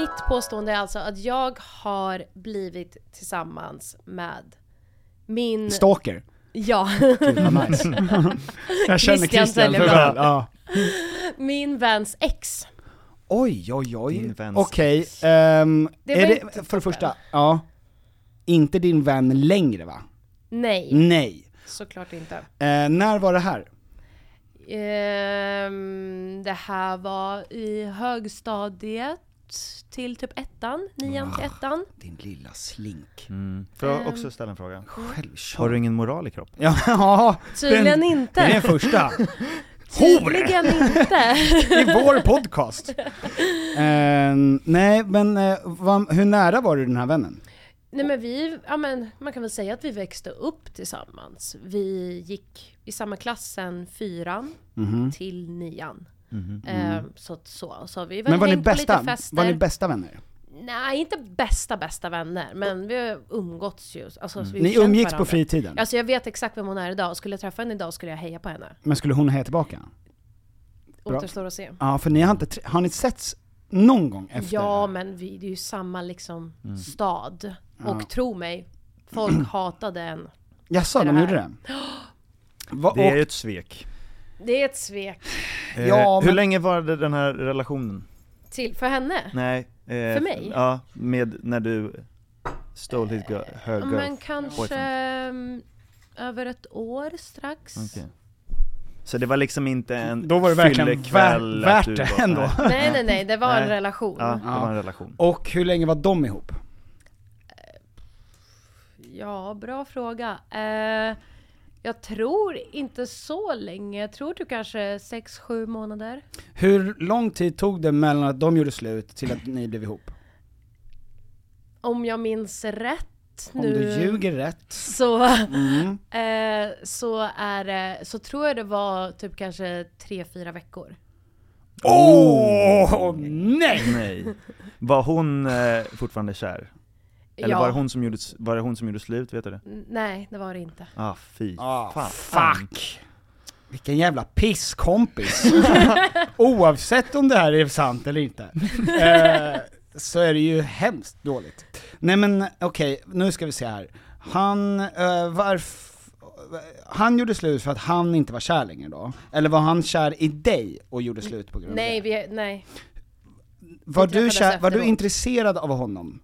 [SPEAKER 3] Mitt påstående är alltså att jag har blivit tillsammans med min...
[SPEAKER 1] Stalker.
[SPEAKER 3] Ja. (laughs)
[SPEAKER 4] (laughs)
[SPEAKER 1] Vad nice.
[SPEAKER 4] Jag känner
[SPEAKER 3] Visst, jag
[SPEAKER 4] Christian
[SPEAKER 3] säljer
[SPEAKER 4] för
[SPEAKER 3] bra.
[SPEAKER 4] väl.
[SPEAKER 1] ja.
[SPEAKER 3] Min väns ex.
[SPEAKER 1] Oj, oj,
[SPEAKER 4] Din
[SPEAKER 1] oj.
[SPEAKER 4] väns.
[SPEAKER 1] Okej, ehm,
[SPEAKER 3] Det
[SPEAKER 1] är
[SPEAKER 3] var
[SPEAKER 1] det,
[SPEAKER 3] inte
[SPEAKER 1] för det
[SPEAKER 3] toppen.
[SPEAKER 1] första, ja. Inte din vän längre va?
[SPEAKER 3] Nej,
[SPEAKER 4] Mm.
[SPEAKER 1] Nej.
[SPEAKER 3] såklart inte.
[SPEAKER 1] Eh, när var det här?
[SPEAKER 3] Ehm, det här var i högstadiet till typ ettan, nian
[SPEAKER 4] Ah.
[SPEAKER 3] till ettan.
[SPEAKER 1] Din lilla slink.
[SPEAKER 4] Mm. Får
[SPEAKER 3] Ehm.
[SPEAKER 4] jag också ställa en fråga?
[SPEAKER 1] Självkör.
[SPEAKER 4] Har du ingen moral i kroppen?
[SPEAKER 1] Ja, (laughs) ja.
[SPEAKER 3] Tydligen
[SPEAKER 1] den,
[SPEAKER 3] inte.
[SPEAKER 1] Den
[SPEAKER 3] (laughs)
[SPEAKER 1] är första.
[SPEAKER 3] Tydligen inte.
[SPEAKER 1] (laughs) i vår podcast. Eh, nej, men eh, vad- hur nära var du den här vännen?
[SPEAKER 3] Nej men vi, ja men man kan väl säga att vi växte upp tillsammans. Vi gick i samma klass sen fyran
[SPEAKER 1] Mhm.
[SPEAKER 3] till nian. Ehm, så att så, så har vi väl
[SPEAKER 1] Mm. Men var ni,
[SPEAKER 3] hängt på
[SPEAKER 1] bästa,
[SPEAKER 3] lite fester.
[SPEAKER 1] var ni bästa vänner?
[SPEAKER 3] Nej, inte bästa bästa vänner, men vi har umgåtts ju. Alltså, vi har
[SPEAKER 1] Mm. Ni
[SPEAKER 3] känt
[SPEAKER 1] umgicks på
[SPEAKER 3] varandra.
[SPEAKER 1] fritiden?
[SPEAKER 3] Alltså jag vet exakt vem hon är idag, skulle jag träffa henne idag skulle jag heja på henne.
[SPEAKER 1] Men skulle hon heja tillbaka? Bra.
[SPEAKER 3] Återstår att se.
[SPEAKER 1] Ja, för ni har inte, tr- har ni setts någon gång efter?
[SPEAKER 3] Ja men vi, det är ju samma liksom
[SPEAKER 4] Mm.
[SPEAKER 3] stad. Och tro mig, folk
[SPEAKER 4] (clears throat)
[SPEAKER 3] hatade en.
[SPEAKER 1] Jaså, de
[SPEAKER 3] det
[SPEAKER 1] gjorde
[SPEAKER 3] här.
[SPEAKER 1] det? Va,
[SPEAKER 4] Det är ju
[SPEAKER 1] och,
[SPEAKER 4] ett svek.
[SPEAKER 3] Det är ett svek
[SPEAKER 4] Eh,
[SPEAKER 1] Ja,
[SPEAKER 4] hur
[SPEAKER 1] men-
[SPEAKER 4] länge varade den här relationen?
[SPEAKER 3] till, för henne.
[SPEAKER 4] Nej. eh,
[SPEAKER 3] För mig?
[SPEAKER 4] Ja, med när du stole his girl, her
[SPEAKER 3] Ja,
[SPEAKER 4] girl.
[SPEAKER 3] Men kanske
[SPEAKER 4] boyfriend.
[SPEAKER 3] mm, över ett år strax.
[SPEAKER 4] Okej. Så det var liksom inte en
[SPEAKER 1] Då var det verkligen
[SPEAKER 4] fyllekväll
[SPEAKER 1] vä-
[SPEAKER 4] att
[SPEAKER 1] värt
[SPEAKER 4] du
[SPEAKER 1] det
[SPEAKER 4] var-
[SPEAKER 1] ändå.
[SPEAKER 4] Nej.
[SPEAKER 3] (laughs) Nej nej nej, det var en
[SPEAKER 4] Nej.
[SPEAKER 3] relation.
[SPEAKER 4] Ja,
[SPEAKER 3] Ja.
[SPEAKER 4] det var en relation.
[SPEAKER 1] och hur länge var de ihop?
[SPEAKER 3] bra fråga. Eh, jag tror inte så länge, jag tror typ kanske sex sju månader.
[SPEAKER 1] Hur lång tid tog det mellan att de gjorde slut till att ni blev ihop?
[SPEAKER 3] Om jag minns rätt
[SPEAKER 1] Om
[SPEAKER 3] nu.
[SPEAKER 1] du ljuger rätt? Mm.
[SPEAKER 3] Så, (laughs) eh, så, är, det- så tror jag det var typ kanske tre, fyra veckor.
[SPEAKER 1] Åh oh, nej!
[SPEAKER 4] Nej. Var hon eh, fortfarande kär? Eller var, det hon som gjorde, s- var det hon som gjorde slut, vet du det?
[SPEAKER 3] N- Nej, det var det inte.
[SPEAKER 4] Ah, fy
[SPEAKER 1] Ah,
[SPEAKER 4] fan.
[SPEAKER 1] fuck! Vilken jävla (laughs) pisskompis! Oavsett om det här är sant eller inte, eh, så är det ju hemskt dåligt. Nej men okej, nu ska vi se här. Han, eh, varf... Han gjorde slut för att han inte var kär längre då? Eller var han kär i dig och gjorde slut på grund av
[SPEAKER 3] Nej,
[SPEAKER 1] det?
[SPEAKER 3] vi, nej,
[SPEAKER 1] Var
[SPEAKER 3] vi
[SPEAKER 1] du,
[SPEAKER 3] träffades
[SPEAKER 1] kär, var du
[SPEAKER 3] efteråt.
[SPEAKER 1] intresserad av honom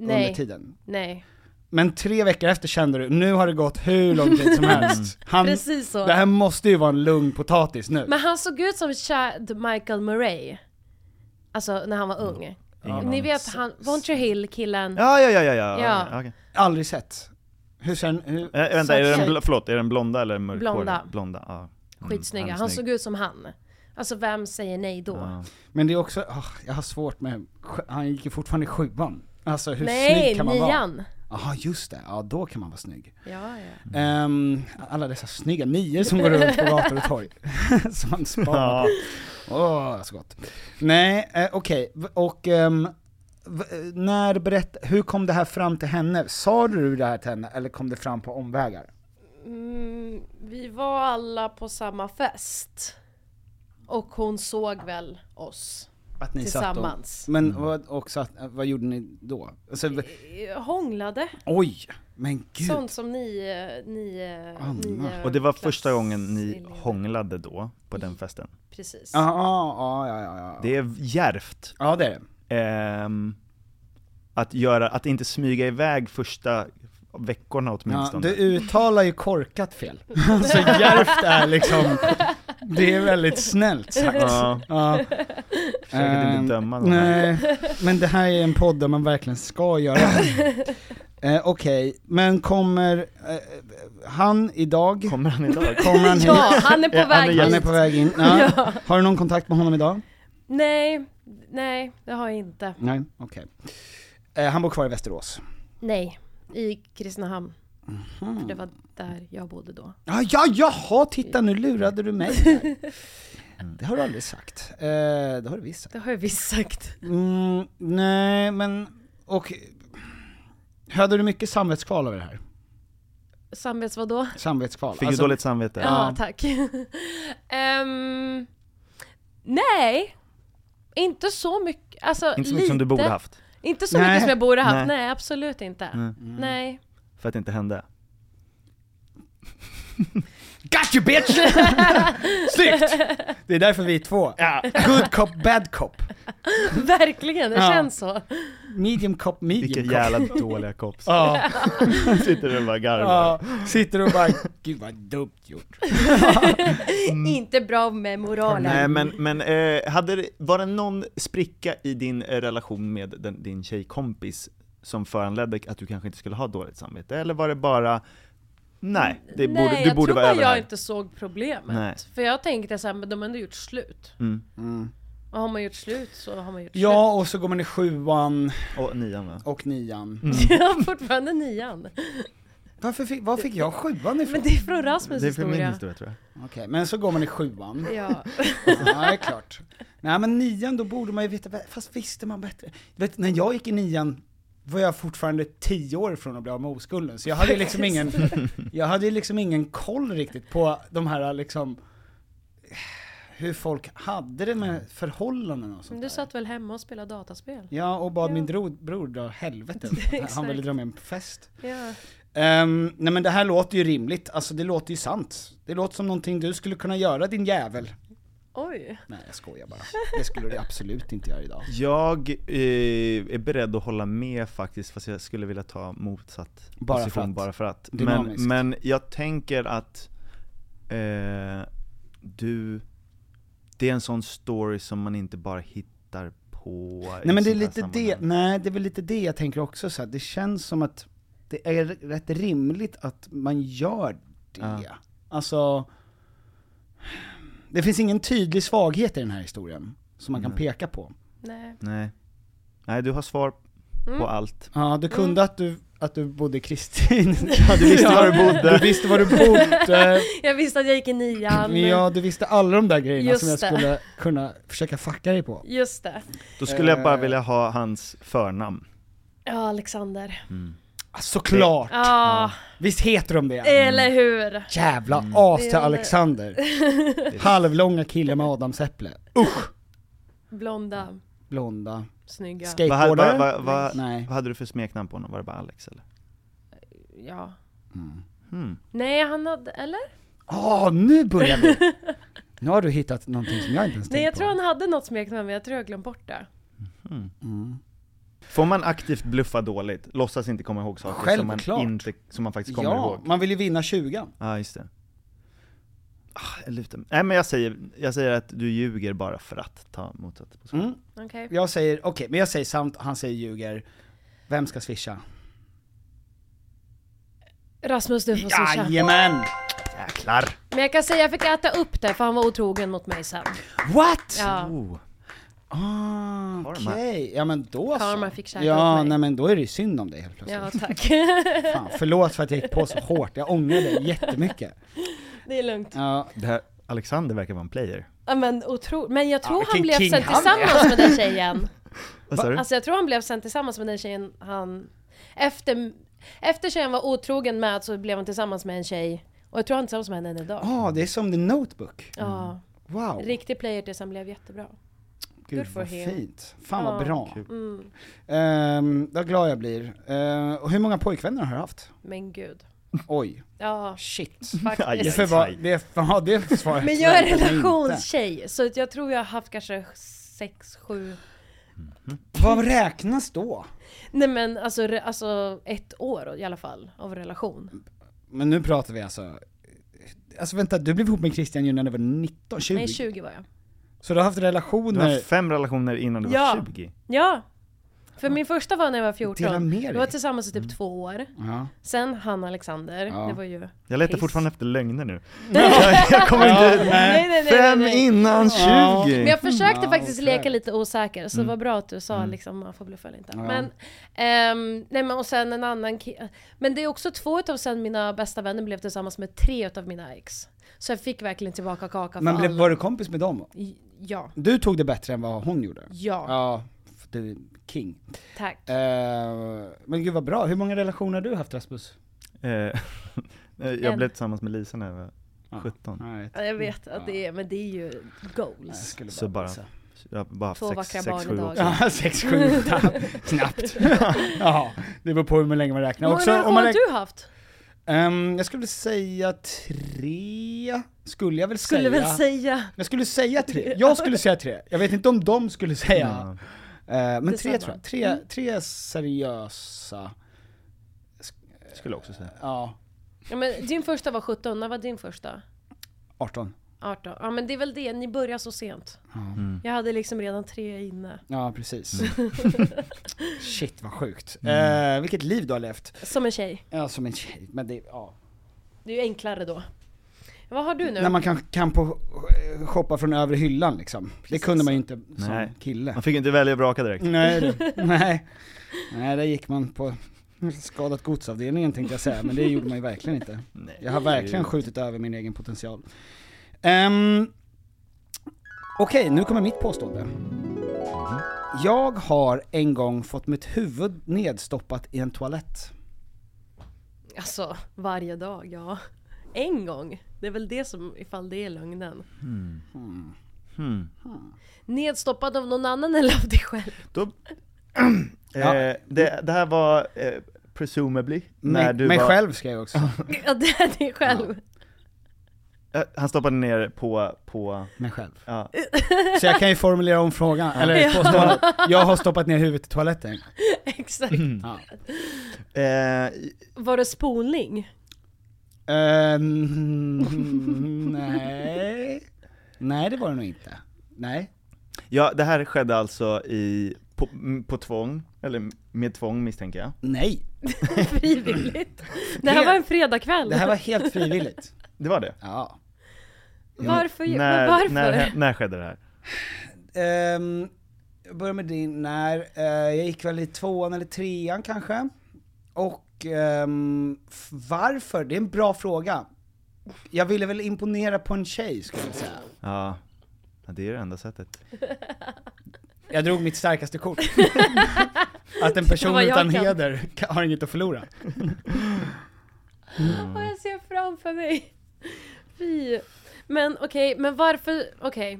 [SPEAKER 1] under
[SPEAKER 3] nej,
[SPEAKER 1] tiden?
[SPEAKER 3] nej.
[SPEAKER 1] Men tre veckor efter kände du, nu har det gått hur lång tid
[SPEAKER 3] (laughs)
[SPEAKER 1] som helst. Han,
[SPEAKER 3] Mm. Precis så.
[SPEAKER 1] det här måste ju vara en lugn potatis nu.
[SPEAKER 3] Men han såg ut som Chad Michael Murray. Alltså när han var
[SPEAKER 4] Mm.
[SPEAKER 3] ung. Ni vet han, Vontre Hill killen.
[SPEAKER 4] Ja, ja, ja, ja, ja.
[SPEAKER 3] Ja.
[SPEAKER 4] okej, okej.
[SPEAKER 1] Aldrig sett. Hur sen, hur?
[SPEAKER 4] Eh, vänta, är
[SPEAKER 3] Så
[SPEAKER 4] den,
[SPEAKER 3] tjej.
[SPEAKER 4] bl- förlåt, är den blonda eller mörkhårig?
[SPEAKER 3] Blonda.
[SPEAKER 4] Blonda, ja. Mm,
[SPEAKER 3] Skitsnygga.
[SPEAKER 4] är
[SPEAKER 3] Han
[SPEAKER 4] snygg.
[SPEAKER 3] såg ut som han. Alltså vem säger nej då?
[SPEAKER 4] Ja.
[SPEAKER 1] Men det är också, åh, jag har svårt med, han gick ju fortfarande i sjuan. Alltså hur
[SPEAKER 3] nej,
[SPEAKER 1] snygg kan man vara?
[SPEAKER 3] nian.
[SPEAKER 1] Jaha just det, ja då kan man vara snygg.
[SPEAKER 3] Ja, ja.
[SPEAKER 1] Ehm, alla dessa snygga nior som går runt på gator och torg. (laughs) som man spanar
[SPEAKER 4] Ja.
[SPEAKER 1] på. Åh, så gott. Nej, eh, okej, V- och ehm, v- eh, när berätt, hur kom det här fram till henne? Sa du det här till henne eller kom det fram på omvägar?
[SPEAKER 3] Mm, vi var alla på samma fest. Och hon såg väl oss.
[SPEAKER 1] Att ni
[SPEAKER 3] Tillsammans.
[SPEAKER 1] Satt och, men vad, och satt, eh, vad gjorde ni då? Alltså, v-
[SPEAKER 3] Eh, Hånglade.
[SPEAKER 1] oj! Men gud!
[SPEAKER 3] Sånt som ni, eh, ni, eh, ni eh,
[SPEAKER 4] Och det var första
[SPEAKER 3] klass-
[SPEAKER 4] gången ni hånglade då, på den festen.
[SPEAKER 3] Precis.
[SPEAKER 1] Ja, ja, ja, ja, ja.
[SPEAKER 4] Det är djärvt
[SPEAKER 1] Ja det är det.
[SPEAKER 4] ehm, att, göra, att inte smyga iväg första veckorna
[SPEAKER 1] Ja,
[SPEAKER 4] åtminstone.
[SPEAKER 1] du uttalar ju korkat fel. Så djärvt är liksom, det är väldigt snällt sagt.
[SPEAKER 4] Ja.
[SPEAKER 1] Ja.
[SPEAKER 4] Försöker att
[SPEAKER 1] Ehm,
[SPEAKER 4] inte döma någon.
[SPEAKER 1] Nej, men det här är en podd där man verkligen ska göra det. Eh, Okej, men kommer eh, han idag?
[SPEAKER 4] Kommer han
[SPEAKER 1] (laughs)
[SPEAKER 4] idag?
[SPEAKER 3] (laughs)
[SPEAKER 1] Kommer han hit?
[SPEAKER 3] Ja, han
[SPEAKER 1] (laughs)
[SPEAKER 3] är på
[SPEAKER 4] Ja,
[SPEAKER 3] väg
[SPEAKER 1] Han är
[SPEAKER 3] hit.
[SPEAKER 1] på väg in. Ja.
[SPEAKER 3] (laughs)
[SPEAKER 1] Har du någon kontakt med honom idag?
[SPEAKER 3] Nej, nej, det har jag inte.
[SPEAKER 1] Nej, okej. Eh, han bor kvar i Västerås.
[SPEAKER 3] Nej, i Kristinehamn. För det var där jag bodde då.
[SPEAKER 1] Ja, ja, jaha, titta nu lurade du mig. här. Mm. Det har du aldrig sagt. Eh, det har du visst sagt.
[SPEAKER 3] Det har jag visst sagt.
[SPEAKER 1] Mm, nej, men, och... Hade du mycket samvetskval över det här?
[SPEAKER 3] Samvets vadå?
[SPEAKER 1] Samvetskval?
[SPEAKER 4] Fick
[SPEAKER 1] Alltså-
[SPEAKER 4] du dåligt samvete?
[SPEAKER 3] Ja, tack. (laughs) Ehm, nej, inte så mycket. Alltså,
[SPEAKER 4] Inte så
[SPEAKER 3] lite.
[SPEAKER 4] mycket som du borde haft,
[SPEAKER 3] Inte så
[SPEAKER 1] Nej.
[SPEAKER 3] mycket som jag borde haft.
[SPEAKER 4] Nej. Mm.
[SPEAKER 3] Nej, absolut inte. Nej. (laughs)
[SPEAKER 4] för att det inte hände.
[SPEAKER 1] Got you (laughs) bitch! Snyggt! Det är därför vi är två. Good cop, bad cop.
[SPEAKER 3] Verkligen, det
[SPEAKER 1] Ja.
[SPEAKER 3] känns så.
[SPEAKER 1] Medium cop, medium
[SPEAKER 4] Vilka
[SPEAKER 1] cop.
[SPEAKER 4] jävla dåliga kops.
[SPEAKER 1] Ja,
[SPEAKER 4] (laughs) Sitter du och bara garvar.
[SPEAKER 1] ja, sitter och bara, gud vad dumt gjort.
[SPEAKER 3] Inte bra med moralen.
[SPEAKER 4] Mm. Nej men, men eh, hade, det- var det någon spricka i din eh, relation med den, din tjejkompis som föranledde att du kanske inte skulle ha dåligt samvete? Eller var det bara, nej, det
[SPEAKER 3] Nej,
[SPEAKER 4] borde, du
[SPEAKER 3] jag
[SPEAKER 4] borde
[SPEAKER 3] tror
[SPEAKER 4] vara
[SPEAKER 3] bara
[SPEAKER 4] över
[SPEAKER 3] jag
[SPEAKER 4] det här.
[SPEAKER 3] inte såg problemet.
[SPEAKER 4] Nej.
[SPEAKER 3] För jag tänkte såhär, men de har ändå gjort slut.
[SPEAKER 4] Mm.
[SPEAKER 3] Och har man gjort slut så har man gjort
[SPEAKER 1] Ja, och så går man i sjuan
[SPEAKER 4] Och nian va?
[SPEAKER 1] och nian.
[SPEAKER 3] slut. (laughs) Jag har fortfarande nian.
[SPEAKER 1] Varför fick, var fick jag sjuan ifrån?
[SPEAKER 3] Men det är från Rasmus
[SPEAKER 4] Det är för min
[SPEAKER 3] historia.
[SPEAKER 4] historia tror jag.
[SPEAKER 1] Okej, men så går man
[SPEAKER 3] (laughs)
[SPEAKER 1] i sjuan.
[SPEAKER 3] Ja.
[SPEAKER 1] Ja, det är klart. Nej men nian, då borde man ju veta, bä- fast visste man bättre. Vet, när jag gick i nian var jag fortfarande tio år från att bli av med oskulden, så jag hade ju
[SPEAKER 3] (laughs)
[SPEAKER 1] liksom ingen, jag hade ju liksom ingen koll riktigt på de här liksom, hur folk hade det med förhållanden och
[SPEAKER 3] Men
[SPEAKER 1] sånt
[SPEAKER 3] du
[SPEAKER 1] där.
[SPEAKER 3] satt väl hemma och spelade dataspel?
[SPEAKER 1] Ja, och bad
[SPEAKER 3] Mm. Ja.
[SPEAKER 1] min dro, bror dra
[SPEAKER 3] (laughs)
[SPEAKER 1] åt helvete. Han
[SPEAKER 3] Exakt.
[SPEAKER 1] ville dra med mig på fest.
[SPEAKER 3] Ja.
[SPEAKER 1] Ehm, nej men det här låter ju rimligt, alltså det låter ju sant. Det låter som någonting du skulle kunna göra din jävel.
[SPEAKER 3] Oj.
[SPEAKER 1] Nej jag skojar bara. Det skulle du absolut inte göra idag.
[SPEAKER 4] Jag eh, är beredd att hålla med faktiskt, fast jag skulle vilja ta motsatt
[SPEAKER 1] Bara för
[SPEAKER 4] position
[SPEAKER 1] att.
[SPEAKER 4] bara för att. Men,
[SPEAKER 1] Dynamiskt.
[SPEAKER 4] men jag tänker att eh, du, det är en sån story som man inte bara hittar på i
[SPEAKER 1] Nej men det är
[SPEAKER 4] sån här
[SPEAKER 1] lite det,
[SPEAKER 4] sammanhang.
[SPEAKER 1] nej det är väl lite det jag tänker också så här. det känns som att det är rätt rimligt att man gör det.
[SPEAKER 4] Ja.
[SPEAKER 1] Alltså, det finns ingen tydlig svaghet i den här historien som man kan
[SPEAKER 4] Nej.
[SPEAKER 1] peka på.
[SPEAKER 3] Nej.
[SPEAKER 4] Nej. Nej, du har svar på allt.
[SPEAKER 1] Ja, du kunde att du, att du bodde i Kristin.
[SPEAKER 4] Ja, du visste var du
[SPEAKER 1] Du
[SPEAKER 4] bodde.
[SPEAKER 1] visste var du bodde,
[SPEAKER 3] Jag visste att jag gick i nian.
[SPEAKER 1] ja du visste alla de där grejerna
[SPEAKER 3] Just
[SPEAKER 1] som jag
[SPEAKER 3] det.
[SPEAKER 1] skulle kunna försöka fucka dig på.
[SPEAKER 3] Just det.
[SPEAKER 4] Då skulle jag
[SPEAKER 1] Eh.
[SPEAKER 4] bara vilja ha hans förnamn.
[SPEAKER 3] Ja, Alexander.
[SPEAKER 1] Ah, Såklart!
[SPEAKER 3] Ja,
[SPEAKER 1] Visst heter de det?
[SPEAKER 3] eller hur?
[SPEAKER 1] Jävla as till
[SPEAKER 3] Eh. Det är-
[SPEAKER 1] Alexander. Halvlånga killar med adamsäpple.
[SPEAKER 3] Blonda,
[SPEAKER 1] Blonda.
[SPEAKER 3] snygga.
[SPEAKER 4] Vad, vad,
[SPEAKER 1] Skateboardare?
[SPEAKER 4] vad, vad, vad,
[SPEAKER 1] Nej.
[SPEAKER 4] hade du för smeknamn på honom? Var det bara Alex eller?
[SPEAKER 3] Ja.
[SPEAKER 4] Hmm.
[SPEAKER 3] Nej, han hade, eller?
[SPEAKER 1] Ah, nu börjar vi! Nu har du hittat någonting som jag inte ens
[SPEAKER 3] Nej, jag
[SPEAKER 1] tänkt
[SPEAKER 3] tror
[SPEAKER 1] på.
[SPEAKER 3] han hade något smeknamn, men jag tror jag glömt bort det.
[SPEAKER 4] Får man aktivt bluffa dåligt? Låtsas inte komma ihåg saker som man,
[SPEAKER 1] Självklart.
[SPEAKER 4] inte, som man faktiskt kommer
[SPEAKER 1] Ja,
[SPEAKER 4] ihåg? Ja,
[SPEAKER 1] man vill ju vinna 20
[SPEAKER 4] ah, just det. Ah, jag lutar mig. Nej men jag säger, jag säger att du ljuger bara för att ta motsatt position.
[SPEAKER 1] mm.
[SPEAKER 3] Okej.
[SPEAKER 1] Jag säger, okej, men jag säger sant, han säger ljuger. Vem ska swisha?
[SPEAKER 3] Rasmus, du får swisha.
[SPEAKER 1] Jajamän!
[SPEAKER 4] Jäklar!
[SPEAKER 3] Men jag kan säga att jag fick äta upp det, för han var otrogen mot mig sen.
[SPEAKER 1] What?
[SPEAKER 3] Ja.
[SPEAKER 4] Oh.
[SPEAKER 1] Ah, okej,
[SPEAKER 4] Karma.
[SPEAKER 1] ja men då
[SPEAKER 3] Karma
[SPEAKER 1] så.
[SPEAKER 3] fick käka
[SPEAKER 1] Ja,
[SPEAKER 3] upp mig.
[SPEAKER 1] nej men då är det ju synd om dig helt plötsligt.
[SPEAKER 3] Ja, tack. (laughs)
[SPEAKER 1] Fan, förlåt för att jag gick på så hårt, jag ångrar dig jättemycket.
[SPEAKER 3] Det är lugnt.
[SPEAKER 1] Ja,
[SPEAKER 4] Det här, Alexander verkar vara en player.
[SPEAKER 3] Ja, men, otro... men jag tror
[SPEAKER 1] Ja,
[SPEAKER 3] han
[SPEAKER 1] vilken
[SPEAKER 3] blev
[SPEAKER 1] king
[SPEAKER 3] sen
[SPEAKER 1] han
[SPEAKER 3] tillsammans med den tjejen.
[SPEAKER 4] Vad sa du?
[SPEAKER 3] Alltså jag tror han blev sen tillsammans med den tjejen han... Efter, efter tjejen var otrogen med så blev han tillsammans med en tjej. Och jag tror han är tillsammans med henne än idag.
[SPEAKER 1] ah, det är som The Notebook.
[SPEAKER 3] Ja.
[SPEAKER 1] Wow.
[SPEAKER 3] Riktig player tills han blev jättebra.
[SPEAKER 1] Gud
[SPEAKER 3] Good for
[SPEAKER 1] vad
[SPEAKER 3] him.
[SPEAKER 1] fint. Fan vad
[SPEAKER 3] Ja.
[SPEAKER 1] bra.
[SPEAKER 4] Kul.
[SPEAKER 3] Mm.
[SPEAKER 1] Ehm, vad glad jag blir. Ehm, och hur många pojkvänner har du haft?
[SPEAKER 3] Men gud.
[SPEAKER 1] Oj.
[SPEAKER 3] Ja,
[SPEAKER 1] Shit.
[SPEAKER 4] Aj,
[SPEAKER 3] (laughs)
[SPEAKER 1] Det,
[SPEAKER 3] faktiskt.
[SPEAKER 4] aj.
[SPEAKER 1] förvar, det, (laughs) ja, det svaret
[SPEAKER 3] Men jag är
[SPEAKER 1] förväntade mig inte.
[SPEAKER 3] relationstjej, så att jag tror jag har haft kanske sex, sju...
[SPEAKER 1] Vad räknas då?
[SPEAKER 3] Nej men alltså, re, alltså ett år i alla fall av relation.
[SPEAKER 1] Men nu pratar vi alltså... Alltså vänta, du blev ihop med Christian ju när du var 19, 20?
[SPEAKER 3] Nej 20 var jag.
[SPEAKER 1] Så du har haft
[SPEAKER 4] Du har
[SPEAKER 1] relationer?
[SPEAKER 4] haft fem relationer innan du
[SPEAKER 3] Ja.
[SPEAKER 4] var 20.
[SPEAKER 3] Ja! För min första var när jag var
[SPEAKER 1] Dela
[SPEAKER 3] 14.
[SPEAKER 1] med
[SPEAKER 3] Vi
[SPEAKER 1] dig.
[SPEAKER 3] var tillsammans i typ två år.
[SPEAKER 1] Ja.
[SPEAKER 3] Sen han Alexander,
[SPEAKER 1] Ja.
[SPEAKER 3] det var ju...
[SPEAKER 4] Jag letar
[SPEAKER 3] Piss.
[SPEAKER 4] fortfarande efter lögner nu. jag, jag kommer inte...
[SPEAKER 3] Nej, nej, nej,
[SPEAKER 4] Fem
[SPEAKER 3] nej, nej.
[SPEAKER 4] innan 20!
[SPEAKER 1] Ja.
[SPEAKER 3] Men jag försökte
[SPEAKER 1] Ja,
[SPEAKER 3] faktiskt
[SPEAKER 1] okej.
[SPEAKER 3] leka lite osäker,
[SPEAKER 4] Mm.
[SPEAKER 3] så det var bra att du sa liksom, man får bluffa eller inte. Men, ehm, nej men och sen en annan ki- Men det är också två utav sen mina bästa vänner blev tillsammans med tre utav mina ex. Så jag fick verkligen tillbaka kaka
[SPEAKER 1] Men
[SPEAKER 3] för
[SPEAKER 1] blev,
[SPEAKER 3] alla.
[SPEAKER 1] var du kompis med dem?
[SPEAKER 3] Ja,
[SPEAKER 1] Du tog det bättre än vad hon gjorde?
[SPEAKER 3] ja,
[SPEAKER 1] Ja, för du är king.
[SPEAKER 3] tack.
[SPEAKER 1] Eh, men gud vad bra, hur många relationer har du haft Rasmus?
[SPEAKER 4] Eh, (laughs) jag blev tillsammans med Lisa när jag var
[SPEAKER 1] Ja.
[SPEAKER 4] 17.
[SPEAKER 1] Nej,
[SPEAKER 3] Ja, Jag vet att det är, men det är ju
[SPEAKER 1] jag
[SPEAKER 3] goals.
[SPEAKER 1] skulle
[SPEAKER 4] Så bara-
[SPEAKER 1] gissa.
[SPEAKER 4] Jag har bara haft
[SPEAKER 3] Två
[SPEAKER 4] sex,
[SPEAKER 3] vackra
[SPEAKER 4] sex,
[SPEAKER 3] barn
[SPEAKER 4] sju
[SPEAKER 3] idag.
[SPEAKER 4] också.
[SPEAKER 1] Ja, sex, sju,
[SPEAKER 3] (laughs)
[SPEAKER 1] tapp-
[SPEAKER 4] (laughs)
[SPEAKER 1] knappt. ja, det beror på hur man länge man
[SPEAKER 3] Hur
[SPEAKER 1] räknar.
[SPEAKER 3] många relationer
[SPEAKER 1] man
[SPEAKER 3] har
[SPEAKER 1] räknar-
[SPEAKER 3] du haft?
[SPEAKER 1] Ehm, jag skulle säga tre, skulle jag väl
[SPEAKER 3] Skulle
[SPEAKER 1] säga.
[SPEAKER 3] väl säga.
[SPEAKER 1] Jag skulle säga tre, jag skulle säga tre. Jag vet inte om de skulle säga.
[SPEAKER 4] Ja.
[SPEAKER 1] Eh, men tre
[SPEAKER 3] Detsamma.
[SPEAKER 1] tror jag. Tre, tre seriösa,
[SPEAKER 4] Skulle jag också säga.
[SPEAKER 1] ja,
[SPEAKER 3] Ja, men din första var 17, när var din första?
[SPEAKER 1] 18.
[SPEAKER 3] 18. Ja men det är väl det, ni börjar så sent. Jag hade liksom redan tre inne.
[SPEAKER 1] Ja, precis.
[SPEAKER 4] Mm.
[SPEAKER 1] (laughs) Shit vad sjukt. Eh, vilket liv du har levt.
[SPEAKER 3] Som en tjej.
[SPEAKER 1] Ja, som en tjej. Men det, ja.
[SPEAKER 3] Det är ju enklare då. Vad har du nu?
[SPEAKER 1] När man kan, kan på, eh, shoppa från övre hyllan liksom. Det kunde man ju inte som
[SPEAKER 4] Nej.
[SPEAKER 1] kille.
[SPEAKER 4] Man fick ju inte välja och vraka direkt.
[SPEAKER 1] Nej, du. nej. Nej, där gick man på skadat godsavdelningen tänkte jag säga, men det gjorde man ju verkligen inte.
[SPEAKER 4] Nej.
[SPEAKER 1] Jag har verkligen skjutit över min egen potential. Um, Okej, nu kommer mitt påstående.
[SPEAKER 4] Mhm.
[SPEAKER 1] Jag har en gång fått mitt huvud nedstoppat i en toalett.
[SPEAKER 3] Alltså, varje dag, ja. En gång. Det är väl det som, ifall det är lögnen.
[SPEAKER 1] Hmm.
[SPEAKER 3] Nedstoppad av någon annan eller av dig själv?
[SPEAKER 4] Då, eh, det, det här var eh, presumably när
[SPEAKER 1] Mig,
[SPEAKER 4] du
[SPEAKER 1] mig
[SPEAKER 4] var,
[SPEAKER 1] själv ska
[SPEAKER 4] (laughs)
[SPEAKER 1] jag också.
[SPEAKER 3] Ja, det är dig själv.
[SPEAKER 4] Eh, Han stoppade ner på, på
[SPEAKER 1] Mig själv.
[SPEAKER 4] ja.
[SPEAKER 1] Så jag kan ju formulera om frågan, eller påståendet. Jag har stoppat ner huvudet i toaletten.
[SPEAKER 3] Exakt.
[SPEAKER 1] Ja.
[SPEAKER 4] eh,
[SPEAKER 3] Var det spolning?
[SPEAKER 1] Ehm, (laughs) nej. Nej det var det nog inte. Nej.
[SPEAKER 4] ja, det här skedde alltså i, på, m- på tvång, eller med tvång misstänker jag.
[SPEAKER 1] Nej. (clears throat)
[SPEAKER 3] Frivilligt? Det här var en fredagkväll.
[SPEAKER 1] Det här var helt frivilligt.
[SPEAKER 4] Det var det.
[SPEAKER 1] Ja.
[SPEAKER 3] Varför?
[SPEAKER 4] när,
[SPEAKER 3] men varför?
[SPEAKER 4] När, när skedde det här?
[SPEAKER 1] Ehm, jag börjar med din, när, eh, jag gick väl i tvåan eller trean kanske. Och ehm, f- varför? Det är en bra fråga. Jag ville väl imponera på en tjej skulle jag säga.
[SPEAKER 4] Ja, Ja, det är det enda sättet.
[SPEAKER 1] (laughs) Jag drog mitt
[SPEAKER 4] (laughs)
[SPEAKER 1] starkaste kort. att en
[SPEAKER 3] Det
[SPEAKER 1] person
[SPEAKER 3] var jag
[SPEAKER 1] utan
[SPEAKER 3] kan.
[SPEAKER 1] heder kan- har inget att förlora.
[SPEAKER 3] Åh, jag ser framför mig. Fy. Men okej, men varför, okej.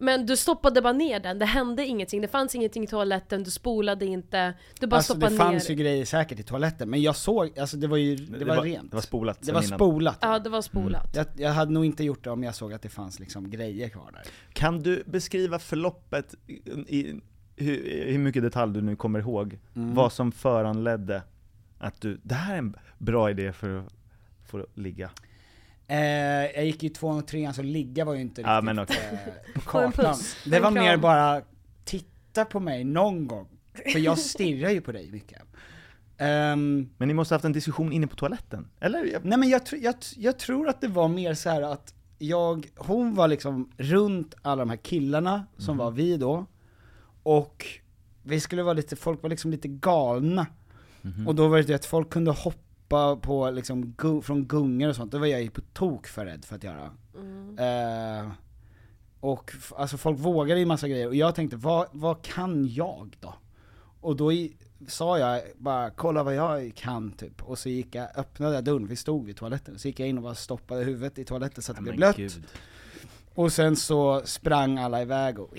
[SPEAKER 3] Men du stoppade bara ner den, det hände ingenting, det fanns ingenting i toaletten, du spolade inte, du bara
[SPEAKER 1] Alltså det
[SPEAKER 3] stoppade
[SPEAKER 1] fanns
[SPEAKER 3] ner.
[SPEAKER 1] ju grejer säkert i toaletten, men jag såg, alltså det var ju, det, var, rent.
[SPEAKER 4] Det var spolat
[SPEAKER 1] Det
[SPEAKER 4] sen
[SPEAKER 1] var
[SPEAKER 4] innan.
[SPEAKER 1] spolat.
[SPEAKER 3] Ja, det var spolat.
[SPEAKER 1] Jag, jag hade nog inte gjort det om jag såg att det fanns liksom grejer kvar där.
[SPEAKER 4] Kan du beskriva förloppet, i, i, hur, i hur mycket detalj du nu kommer ihåg,
[SPEAKER 1] Mm.
[SPEAKER 4] vad som föranledde att du, det här är en bra idé för, att- för att ligga?
[SPEAKER 1] Eh, jag gick ju tvåan och trean så ligga var ju inte
[SPEAKER 4] Ja,
[SPEAKER 1] riktigt
[SPEAKER 4] men okej. (laughs)
[SPEAKER 1] eh, på
[SPEAKER 3] Få en
[SPEAKER 1] kartan.
[SPEAKER 3] puss, få
[SPEAKER 1] Det
[SPEAKER 3] en
[SPEAKER 1] var
[SPEAKER 3] kram.
[SPEAKER 1] mer bara, titta på mig någon gång. För jag stirrar ju på dig
[SPEAKER 3] (laughs)
[SPEAKER 1] mycket. Ehm,
[SPEAKER 4] Men ni måste ha haft en diskussion inne på toaletten, eller? Jag-
[SPEAKER 1] nej men jag, tr- jag, tr- jag tror att det var mer så här att jag, hon var liksom runt alla de här killarna som var vi då. Och vi skulle vara lite, folk var liksom lite galna. Och då var det det att folk kunde hoppa på liksom gu- från gungor och sånt, det var jag ju på tok för rädd för att göra. Eh, och f- alltså folk vågade ju massa grejer och jag tänkte, vad, vad kan jag då? Och då i, sa jag bara, kolla vad jag kan typ. Och så gick jag, öppnade jag dörren, vi stod vid toaletten, så gick jag in och bara stoppade huvudet i toaletten så att det blev blött. Och sen så sprang alla iväg och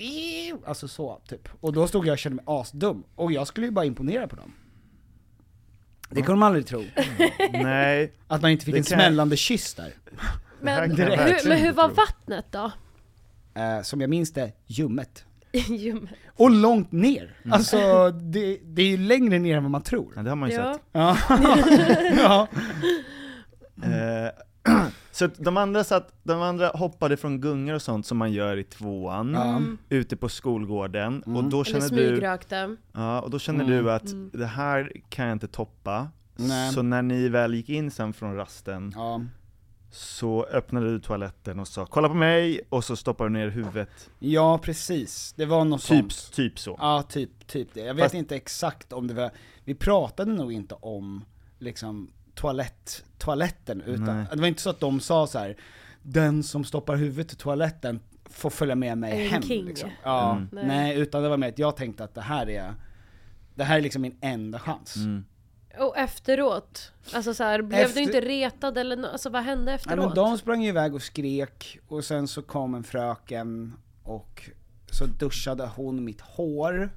[SPEAKER 1] alltså så typ. Och då stod jag och kände mig asdum, och jag skulle ju bara imponera på dem. Det kunde man aldrig tro.
[SPEAKER 4] Mm. Nej.
[SPEAKER 1] (laughs) Att man inte fick
[SPEAKER 4] Det
[SPEAKER 1] en
[SPEAKER 4] kan-
[SPEAKER 1] smällande kyss där.
[SPEAKER 3] Men,
[SPEAKER 1] Direkt.
[SPEAKER 3] hur, men hur var vattnet då? (laughs)
[SPEAKER 1] Eh, som jag minns det, ljummet.
[SPEAKER 3] Ljummet.
[SPEAKER 1] Och långt ner.
[SPEAKER 4] Mm.
[SPEAKER 1] Alltså, det, det är ju längre ner än vad man tror.
[SPEAKER 4] Ja, det har man ju
[SPEAKER 3] Ja.
[SPEAKER 4] sett.
[SPEAKER 1] Ja. ja.
[SPEAKER 4] Eh, så att de, andra satt, de andra hoppade från gungor och sånt som man gör i tvåan, ute på skolgården, och
[SPEAKER 1] Mm.
[SPEAKER 4] då
[SPEAKER 3] Eller
[SPEAKER 4] känner du
[SPEAKER 3] smygrökte.
[SPEAKER 4] Ja, och då känner du att det här kan jag inte toppa.
[SPEAKER 1] Nej.
[SPEAKER 4] Så när ni väl gick in sen från rasten
[SPEAKER 1] ja.
[SPEAKER 4] så öppnade du toaletten och sa 'Kolla på mig!' och så stoppade du ner huvudet.
[SPEAKER 1] Ja, precis. Det var något
[SPEAKER 4] Typ,
[SPEAKER 1] sånt.
[SPEAKER 4] typ så.
[SPEAKER 1] Ja, typ, typ det. Jag vet
[SPEAKER 4] Fast-
[SPEAKER 1] inte exakt om det var, vi pratade nog inte om liksom toalett, toaletten utan,
[SPEAKER 4] Nej.
[SPEAKER 1] det var inte så att de sa så här. den som stoppar huvudet i toaletten får följa med mig
[SPEAKER 3] En
[SPEAKER 1] hem
[SPEAKER 3] king.
[SPEAKER 1] liksom. Ja,
[SPEAKER 4] Mm.
[SPEAKER 1] nej. utan det var mer att jag tänkte att det här är, det här är liksom min enda chans.
[SPEAKER 4] Mm.
[SPEAKER 3] Och efteråt? Alltså så här, blev
[SPEAKER 1] Efter-
[SPEAKER 3] du inte retad eller no- alltså vad hände
[SPEAKER 1] Nej,
[SPEAKER 3] efteråt?
[SPEAKER 1] men de sprang ju iväg och skrek, och sen så kom en fröken och så duschade hon mitt hår.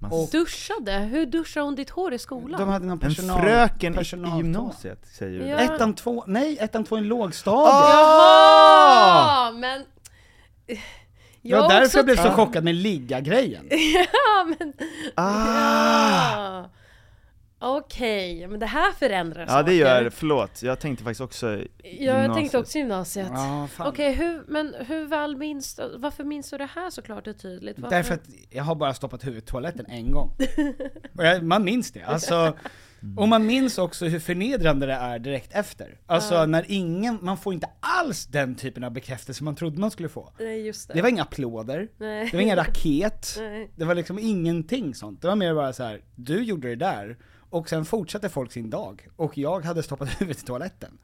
[SPEAKER 4] Man-
[SPEAKER 1] Och-
[SPEAKER 3] Duschade? Hur duschade hon ditt hår i skolan?
[SPEAKER 1] De hade någon
[SPEAKER 4] en
[SPEAKER 1] personal,
[SPEAKER 4] fröken i
[SPEAKER 1] personaltoa.
[SPEAKER 4] gymnasiet säger du
[SPEAKER 3] Ja.
[SPEAKER 4] det.
[SPEAKER 1] Ettan, två, nej ettan, två i lågstadiet!
[SPEAKER 3] Jaha! Men... eh,
[SPEAKER 1] Det var därför
[SPEAKER 3] också
[SPEAKER 1] jag blev så
[SPEAKER 3] tänkt-
[SPEAKER 1] chockad med ligga-grejen.
[SPEAKER 3] Ja, men...
[SPEAKER 4] Ah!
[SPEAKER 3] Ja. Okej, men det här förändrar
[SPEAKER 4] Ja det
[SPEAKER 3] saker.
[SPEAKER 4] gör förlåt. Jag tänkte faktiskt också i
[SPEAKER 3] Ja, jag tänkte
[SPEAKER 4] gymnasiet.
[SPEAKER 3] också gymnasiet.
[SPEAKER 1] Ja, fan.
[SPEAKER 3] Okej, hur, men hur väl minns du, varför minns du det här så klart och tydligt? Varför?
[SPEAKER 1] Därför att jag har bara stoppat huvudet i toaletten
[SPEAKER 3] (laughs)
[SPEAKER 1] en gång. Och jag, man minns det, alltså. Och man minns också hur förnedrande det är direkt efter. Alltså när ingen, man får inte alls den typen av bekräftelse man trodde man skulle få.
[SPEAKER 3] Nej, just det.
[SPEAKER 1] Det var inga applåder,
[SPEAKER 3] Nej.
[SPEAKER 1] det var ingen raket,
[SPEAKER 3] Nej.
[SPEAKER 1] det var liksom ingenting sånt. Det var mer bara så här: du gjorde det där, och sen fortsatte folk sin dag. Och jag hade stoppat (laughs) huvudet i toaletten.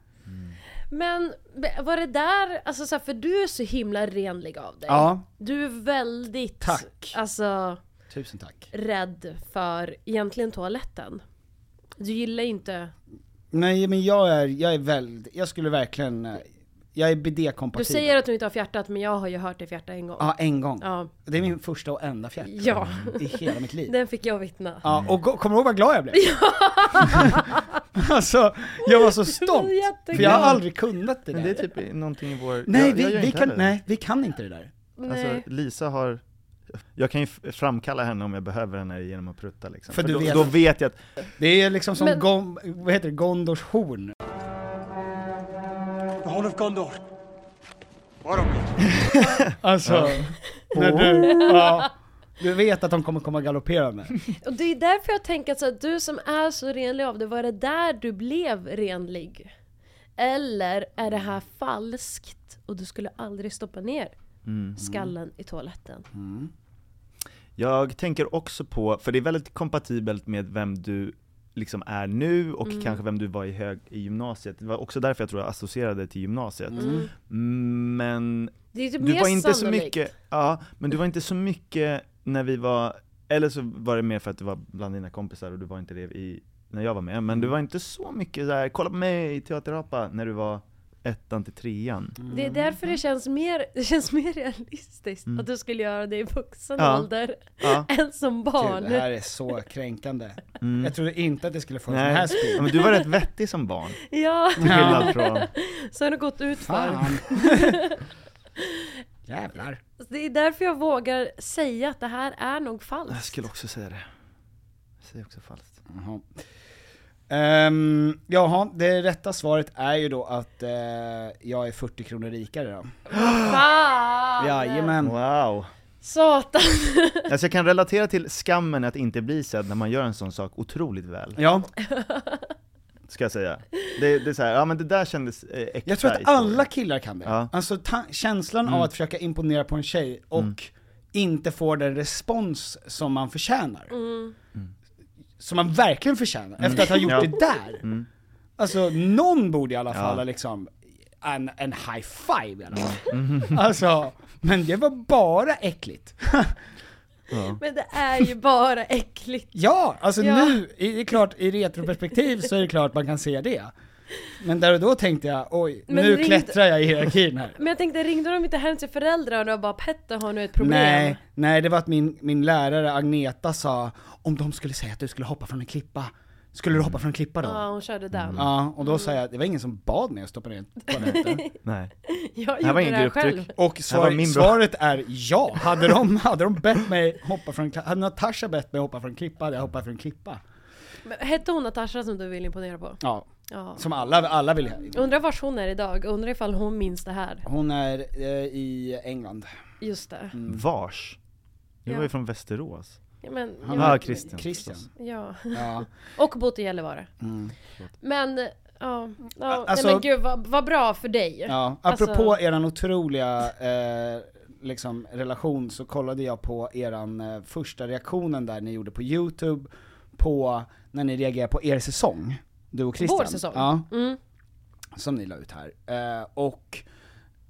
[SPEAKER 3] Men be- var det där, alltså så här, för du är så himla renlig av dig.
[SPEAKER 1] Ja.
[SPEAKER 3] Du är väldigt,
[SPEAKER 1] Tack.
[SPEAKER 3] alltså
[SPEAKER 1] Tusen tack.
[SPEAKER 3] rädd för egentligen toaletten. Du gillar ju inte,
[SPEAKER 1] Nej men jag är, jag är väldigt, jag skulle verkligen, eh, jag är BD-kompatibel.
[SPEAKER 3] du säger att du inte har fjärtat men jag har ju hört dig fjärta en gång.
[SPEAKER 1] Ja, en gång.
[SPEAKER 3] Ja.
[SPEAKER 1] Det är min första och enda fjärt
[SPEAKER 3] Ja.
[SPEAKER 1] i hela mitt liv.
[SPEAKER 3] Den fick jag vittna.
[SPEAKER 1] Ja, och go- kommer du ihåg vad glad jag blev? (laughs) alltså, jag var så stolt.
[SPEAKER 3] jätteglad.
[SPEAKER 1] För jag har aldrig kunnat det där.
[SPEAKER 4] Men det är typ i- någonting i vår...
[SPEAKER 1] Nej,
[SPEAKER 4] jag, jag
[SPEAKER 1] vi,
[SPEAKER 4] gör
[SPEAKER 1] vi
[SPEAKER 4] inte
[SPEAKER 1] kan,
[SPEAKER 4] heller det.
[SPEAKER 1] nej, vi kan inte det där.
[SPEAKER 3] Nej.
[SPEAKER 4] Alltså Lisa har, jag kan ju f- framkalla henne om jag behöver henne genom att prutta liksom.
[SPEAKER 1] För du
[SPEAKER 4] då,
[SPEAKER 1] vet-
[SPEAKER 4] då vet jag att,
[SPEAKER 1] Det är liksom som
[SPEAKER 3] Men-
[SPEAKER 1] Gon, vad heter det, Gondors horn.
[SPEAKER 6] The whole of Gondor.
[SPEAKER 1] (laughs) Alltså, när du, ja, du vet att de kommer komma galopperande.
[SPEAKER 3] Och det är därför jag tänker att så här, du som är så renlig av dig, var det där du blev renlig? Eller är det här falskt och du skulle aldrig stoppa ner
[SPEAKER 4] Mm.
[SPEAKER 3] skallen i toaletten?
[SPEAKER 4] jag tänker också på, för det är väldigt kompatibelt med vem du liksom är nu och
[SPEAKER 3] Mm.
[SPEAKER 4] kanske vem du var i, hög, i gymnasiet. Det var också därför jag tror jag associerade till gymnasiet.
[SPEAKER 1] Typ,
[SPEAKER 4] Men
[SPEAKER 3] Det är typ
[SPEAKER 4] du
[SPEAKER 3] mer
[SPEAKER 4] var inte så
[SPEAKER 3] sannolikt.
[SPEAKER 4] mycket, ja, men du var inte så mycket när vi var, eller så var det mer för att du var bland dina kompisar och du var inte det i, när jag var med, men du var inte så mycket där, kolla på mig, teaterapa, när du var ettan till trean.
[SPEAKER 3] Det är därför det känns mer, (laughs) det känns mer realistiskt att du skulle göra det i vuxen
[SPEAKER 4] Mm. Ja.
[SPEAKER 3] ålder
[SPEAKER 4] Ja.
[SPEAKER 3] (laughs) än som barn.
[SPEAKER 1] Gud, det här är så kränkande.
[SPEAKER 4] Mm.
[SPEAKER 1] Jag trodde inte att det skulle få en sån här
[SPEAKER 4] Nej, ja,
[SPEAKER 1] spel.
[SPEAKER 4] men du var rätt vettig som barn,
[SPEAKER 3] Ja,
[SPEAKER 4] till skillnad från...
[SPEAKER 3] så har det gått ut för.
[SPEAKER 4] (laughs)
[SPEAKER 1] Fan. Jävlar.
[SPEAKER 3] Det är därför jag vågar säga att det här är nog
[SPEAKER 4] Jag
[SPEAKER 3] falskt.
[SPEAKER 4] skulle också säga det. Jag säger också falskt.
[SPEAKER 1] Jaha. Ehm, jaha, det rätta svaret är ju då att eh, jag är 40 kronor rikare då.
[SPEAKER 3] Fan!
[SPEAKER 1] Jajamän.
[SPEAKER 4] Wow!
[SPEAKER 3] Satan!
[SPEAKER 4] Alltså jag kan relatera till skammen att inte bli sedd när man gör en sån sak otroligt väl,
[SPEAKER 1] Ja,
[SPEAKER 4] ska jag säga. Det, det är så här, ja men det där kändes eh, äkta
[SPEAKER 1] jag tror
[SPEAKER 4] i
[SPEAKER 1] att
[SPEAKER 4] storyn.
[SPEAKER 1] alla killar kan det.
[SPEAKER 4] Ja. Mm.
[SPEAKER 1] Alltså ta- känslan av att försöka imponera på en tjej och inte få den respons som man förtjänar. Som man verkligen förtjänar, efter att ha gjort
[SPEAKER 4] Mm. Ja. Mm.
[SPEAKER 1] det där. Alltså någon borde i alla fall
[SPEAKER 4] Ja.
[SPEAKER 1] ha liksom en, en high five i alla fall.
[SPEAKER 4] Mm.
[SPEAKER 1] Alltså, men det var bara äckligt.
[SPEAKER 3] Men det är ju bara äckligt.
[SPEAKER 1] Ja, alltså
[SPEAKER 3] Ja.
[SPEAKER 1] nu, i- det är klart, i retroperspektiv så är det klart man kan se det. Men där och då tänkte jag, oj,
[SPEAKER 3] Men
[SPEAKER 1] nu
[SPEAKER 3] ringde-
[SPEAKER 1] klättrar jag i hierarkin här.
[SPEAKER 3] Men jag tänkte, ringde de inte hem till föräldrarna och bara Petter har nu ett problem?
[SPEAKER 1] Nej, nej, det var att min, min lärare Agneta sa, om de skulle säga att du skulle hoppa från en klippa, skulle du hoppa från en klippa då?
[SPEAKER 3] Ja, hon körde den.
[SPEAKER 1] Ja, och då sa jag, det var ingen som bad mig att stoppa ner toaletten.
[SPEAKER 4] Nej.
[SPEAKER 3] (laughs) Jag
[SPEAKER 4] Det här
[SPEAKER 3] gjorde det
[SPEAKER 4] var ingen
[SPEAKER 3] här
[SPEAKER 4] grupptryck.
[SPEAKER 3] själv.
[SPEAKER 1] Och
[SPEAKER 4] Det här var
[SPEAKER 1] svar,
[SPEAKER 4] min bra.
[SPEAKER 1] svaret är ja. Hade de, hade de bett mig hoppa från kla- hade Natasha bett mig hoppa från en klippa, hade jag hoppat från en klippa.
[SPEAKER 3] Men Hette hon Natasha som du vill imponera på?
[SPEAKER 1] Ja,
[SPEAKER 3] Ja.
[SPEAKER 1] som alla, alla vill.
[SPEAKER 3] Undrar vars hon är idag, undrar ifall hon minns det här.
[SPEAKER 1] Hon är eh, i England.
[SPEAKER 3] Just det.
[SPEAKER 4] Vars? Du
[SPEAKER 3] Ja.
[SPEAKER 4] var ju från Västerås.
[SPEAKER 3] Ja, men,
[SPEAKER 1] Han
[SPEAKER 3] ja,
[SPEAKER 4] Ja,
[SPEAKER 3] men-
[SPEAKER 4] Christian.
[SPEAKER 1] Christian.
[SPEAKER 3] Ja. (laughs)
[SPEAKER 1] Ja.
[SPEAKER 3] Och bott i Gällivare. Men, ja. ja
[SPEAKER 1] Mm. Alltså-
[SPEAKER 3] nej, men gud vad, vad bra för dig.
[SPEAKER 1] Ja,
[SPEAKER 3] Alltså-
[SPEAKER 1] apropå eran otroliga eh, liksom, relation så kollade jag på eran eh, första reaktionen där ni gjorde på youtube, på när ni reagerade på er säsong, du och Christian.
[SPEAKER 3] Vår säsong.
[SPEAKER 1] Ja,
[SPEAKER 3] Mm.
[SPEAKER 1] som ni la ut här. Eh, och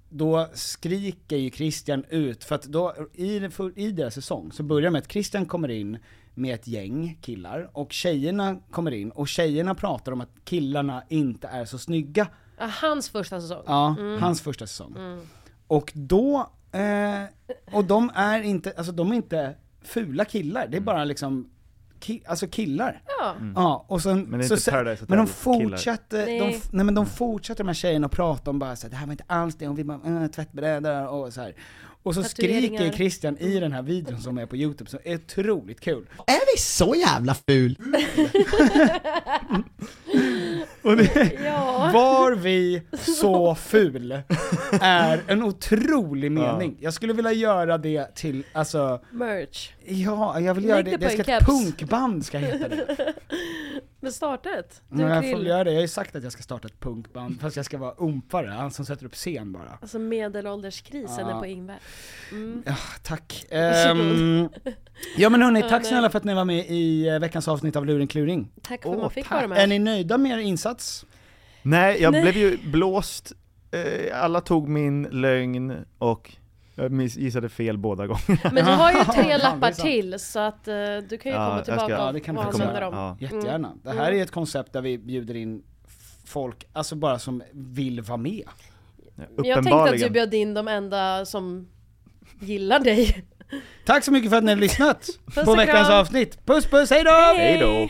[SPEAKER 1] då skriker ju Christian ut, för att då, i, den för, i deras säsong så börjar det med att Christian kommer in med ett gäng killar, och tjejerna kommer in, och tjejerna pratar om att killarna inte är så snygga.
[SPEAKER 3] Ja, Hans första säsong.
[SPEAKER 1] Ja,
[SPEAKER 3] Mm.
[SPEAKER 1] hans första säsong. Och då, eh, och de är inte, alltså de är inte fula killar,
[SPEAKER 4] Mm.
[SPEAKER 1] det är bara liksom, ki, alltså killar.
[SPEAKER 3] Ja.
[SPEAKER 1] Ja, och sen,
[SPEAKER 4] Men det är
[SPEAKER 1] så,
[SPEAKER 4] inte
[SPEAKER 1] se-
[SPEAKER 4] Paradise
[SPEAKER 1] Men de
[SPEAKER 4] Hotel-killar.
[SPEAKER 1] fortsatte, de,
[SPEAKER 3] Nej.
[SPEAKER 1] f- nej men de fortsatte de här tjejerna att prata om bara så här, det här var inte alls det, och vi bara, äh, tvättbrädor och så här. Och så
[SPEAKER 3] Tatueringar.
[SPEAKER 1] skriker Christian i den här videon som är på youtube, som är otroligt kul.
[SPEAKER 6] Är vi så jävla ful?
[SPEAKER 1] Och det,
[SPEAKER 3] (laughs) Ja.
[SPEAKER 1] Var vi
[SPEAKER 3] (laughs)
[SPEAKER 1] så ful är en otrolig mening. Jag skulle vilja göra det till, alltså,
[SPEAKER 3] Merch.
[SPEAKER 1] ja, jag vill
[SPEAKER 3] Lägg
[SPEAKER 1] göra
[SPEAKER 3] det
[SPEAKER 1] det,
[SPEAKER 3] på
[SPEAKER 1] det ska
[SPEAKER 3] en
[SPEAKER 1] ett
[SPEAKER 3] caps.
[SPEAKER 1] punkband ska heta
[SPEAKER 3] (laughs)
[SPEAKER 1] det.
[SPEAKER 3] Men startet. Du
[SPEAKER 1] Men jag får väl
[SPEAKER 3] krill.
[SPEAKER 1] göra det, jag har ju sagt att jag ska starta ett punkband, fast jag ska vara umpare, han som sätter upp scen bara.
[SPEAKER 3] Alltså medelålderskrisen
[SPEAKER 1] Ja.
[SPEAKER 3] är på Ingvar. Mm.
[SPEAKER 1] Ja, tack.
[SPEAKER 3] (laughs)
[SPEAKER 1] Ehm, ja men hörni,
[SPEAKER 3] Ja,
[SPEAKER 1] tack
[SPEAKER 3] nej.
[SPEAKER 1] snälla för att ni var med i eh, veckans avsnitt av Luren Kluring.
[SPEAKER 3] Tack för att man fick
[SPEAKER 1] tack.
[SPEAKER 3] vara
[SPEAKER 1] Är
[SPEAKER 3] med.
[SPEAKER 1] ni nöjda med er insats?
[SPEAKER 4] Nej, jag
[SPEAKER 3] Nej.
[SPEAKER 4] blev ju blåst, eh, alla tog min lögn och jag miss- gissade fel båda gånger.
[SPEAKER 3] Men du har ju
[SPEAKER 1] (laughs) Ja, det
[SPEAKER 3] tre
[SPEAKER 1] är
[SPEAKER 3] lappar
[SPEAKER 1] sant.
[SPEAKER 3] till så att eh, du kan ju
[SPEAKER 4] Ja,
[SPEAKER 3] komma
[SPEAKER 4] jag ska-
[SPEAKER 3] tillbaka
[SPEAKER 1] ja,
[SPEAKER 3] och
[SPEAKER 1] det Mm. kan vi
[SPEAKER 3] och
[SPEAKER 1] faktiskt
[SPEAKER 3] använda
[SPEAKER 4] göra.
[SPEAKER 3] dem.
[SPEAKER 4] Ja. Mm.
[SPEAKER 1] Jättegärna. Det här är ett koncept där vi bjuder in f- folk, alltså bara som vill vara med.
[SPEAKER 3] Jag tänkte att du
[SPEAKER 4] Uppenbarligen.
[SPEAKER 3] bjöd in de enda som gillar dig.
[SPEAKER 1] Tack så mycket för att ni har (laughs) lyssnat
[SPEAKER 3] och
[SPEAKER 1] på
[SPEAKER 3] kram.
[SPEAKER 1] veckans avsnitt. Puss puss, hej då!
[SPEAKER 4] Hej då!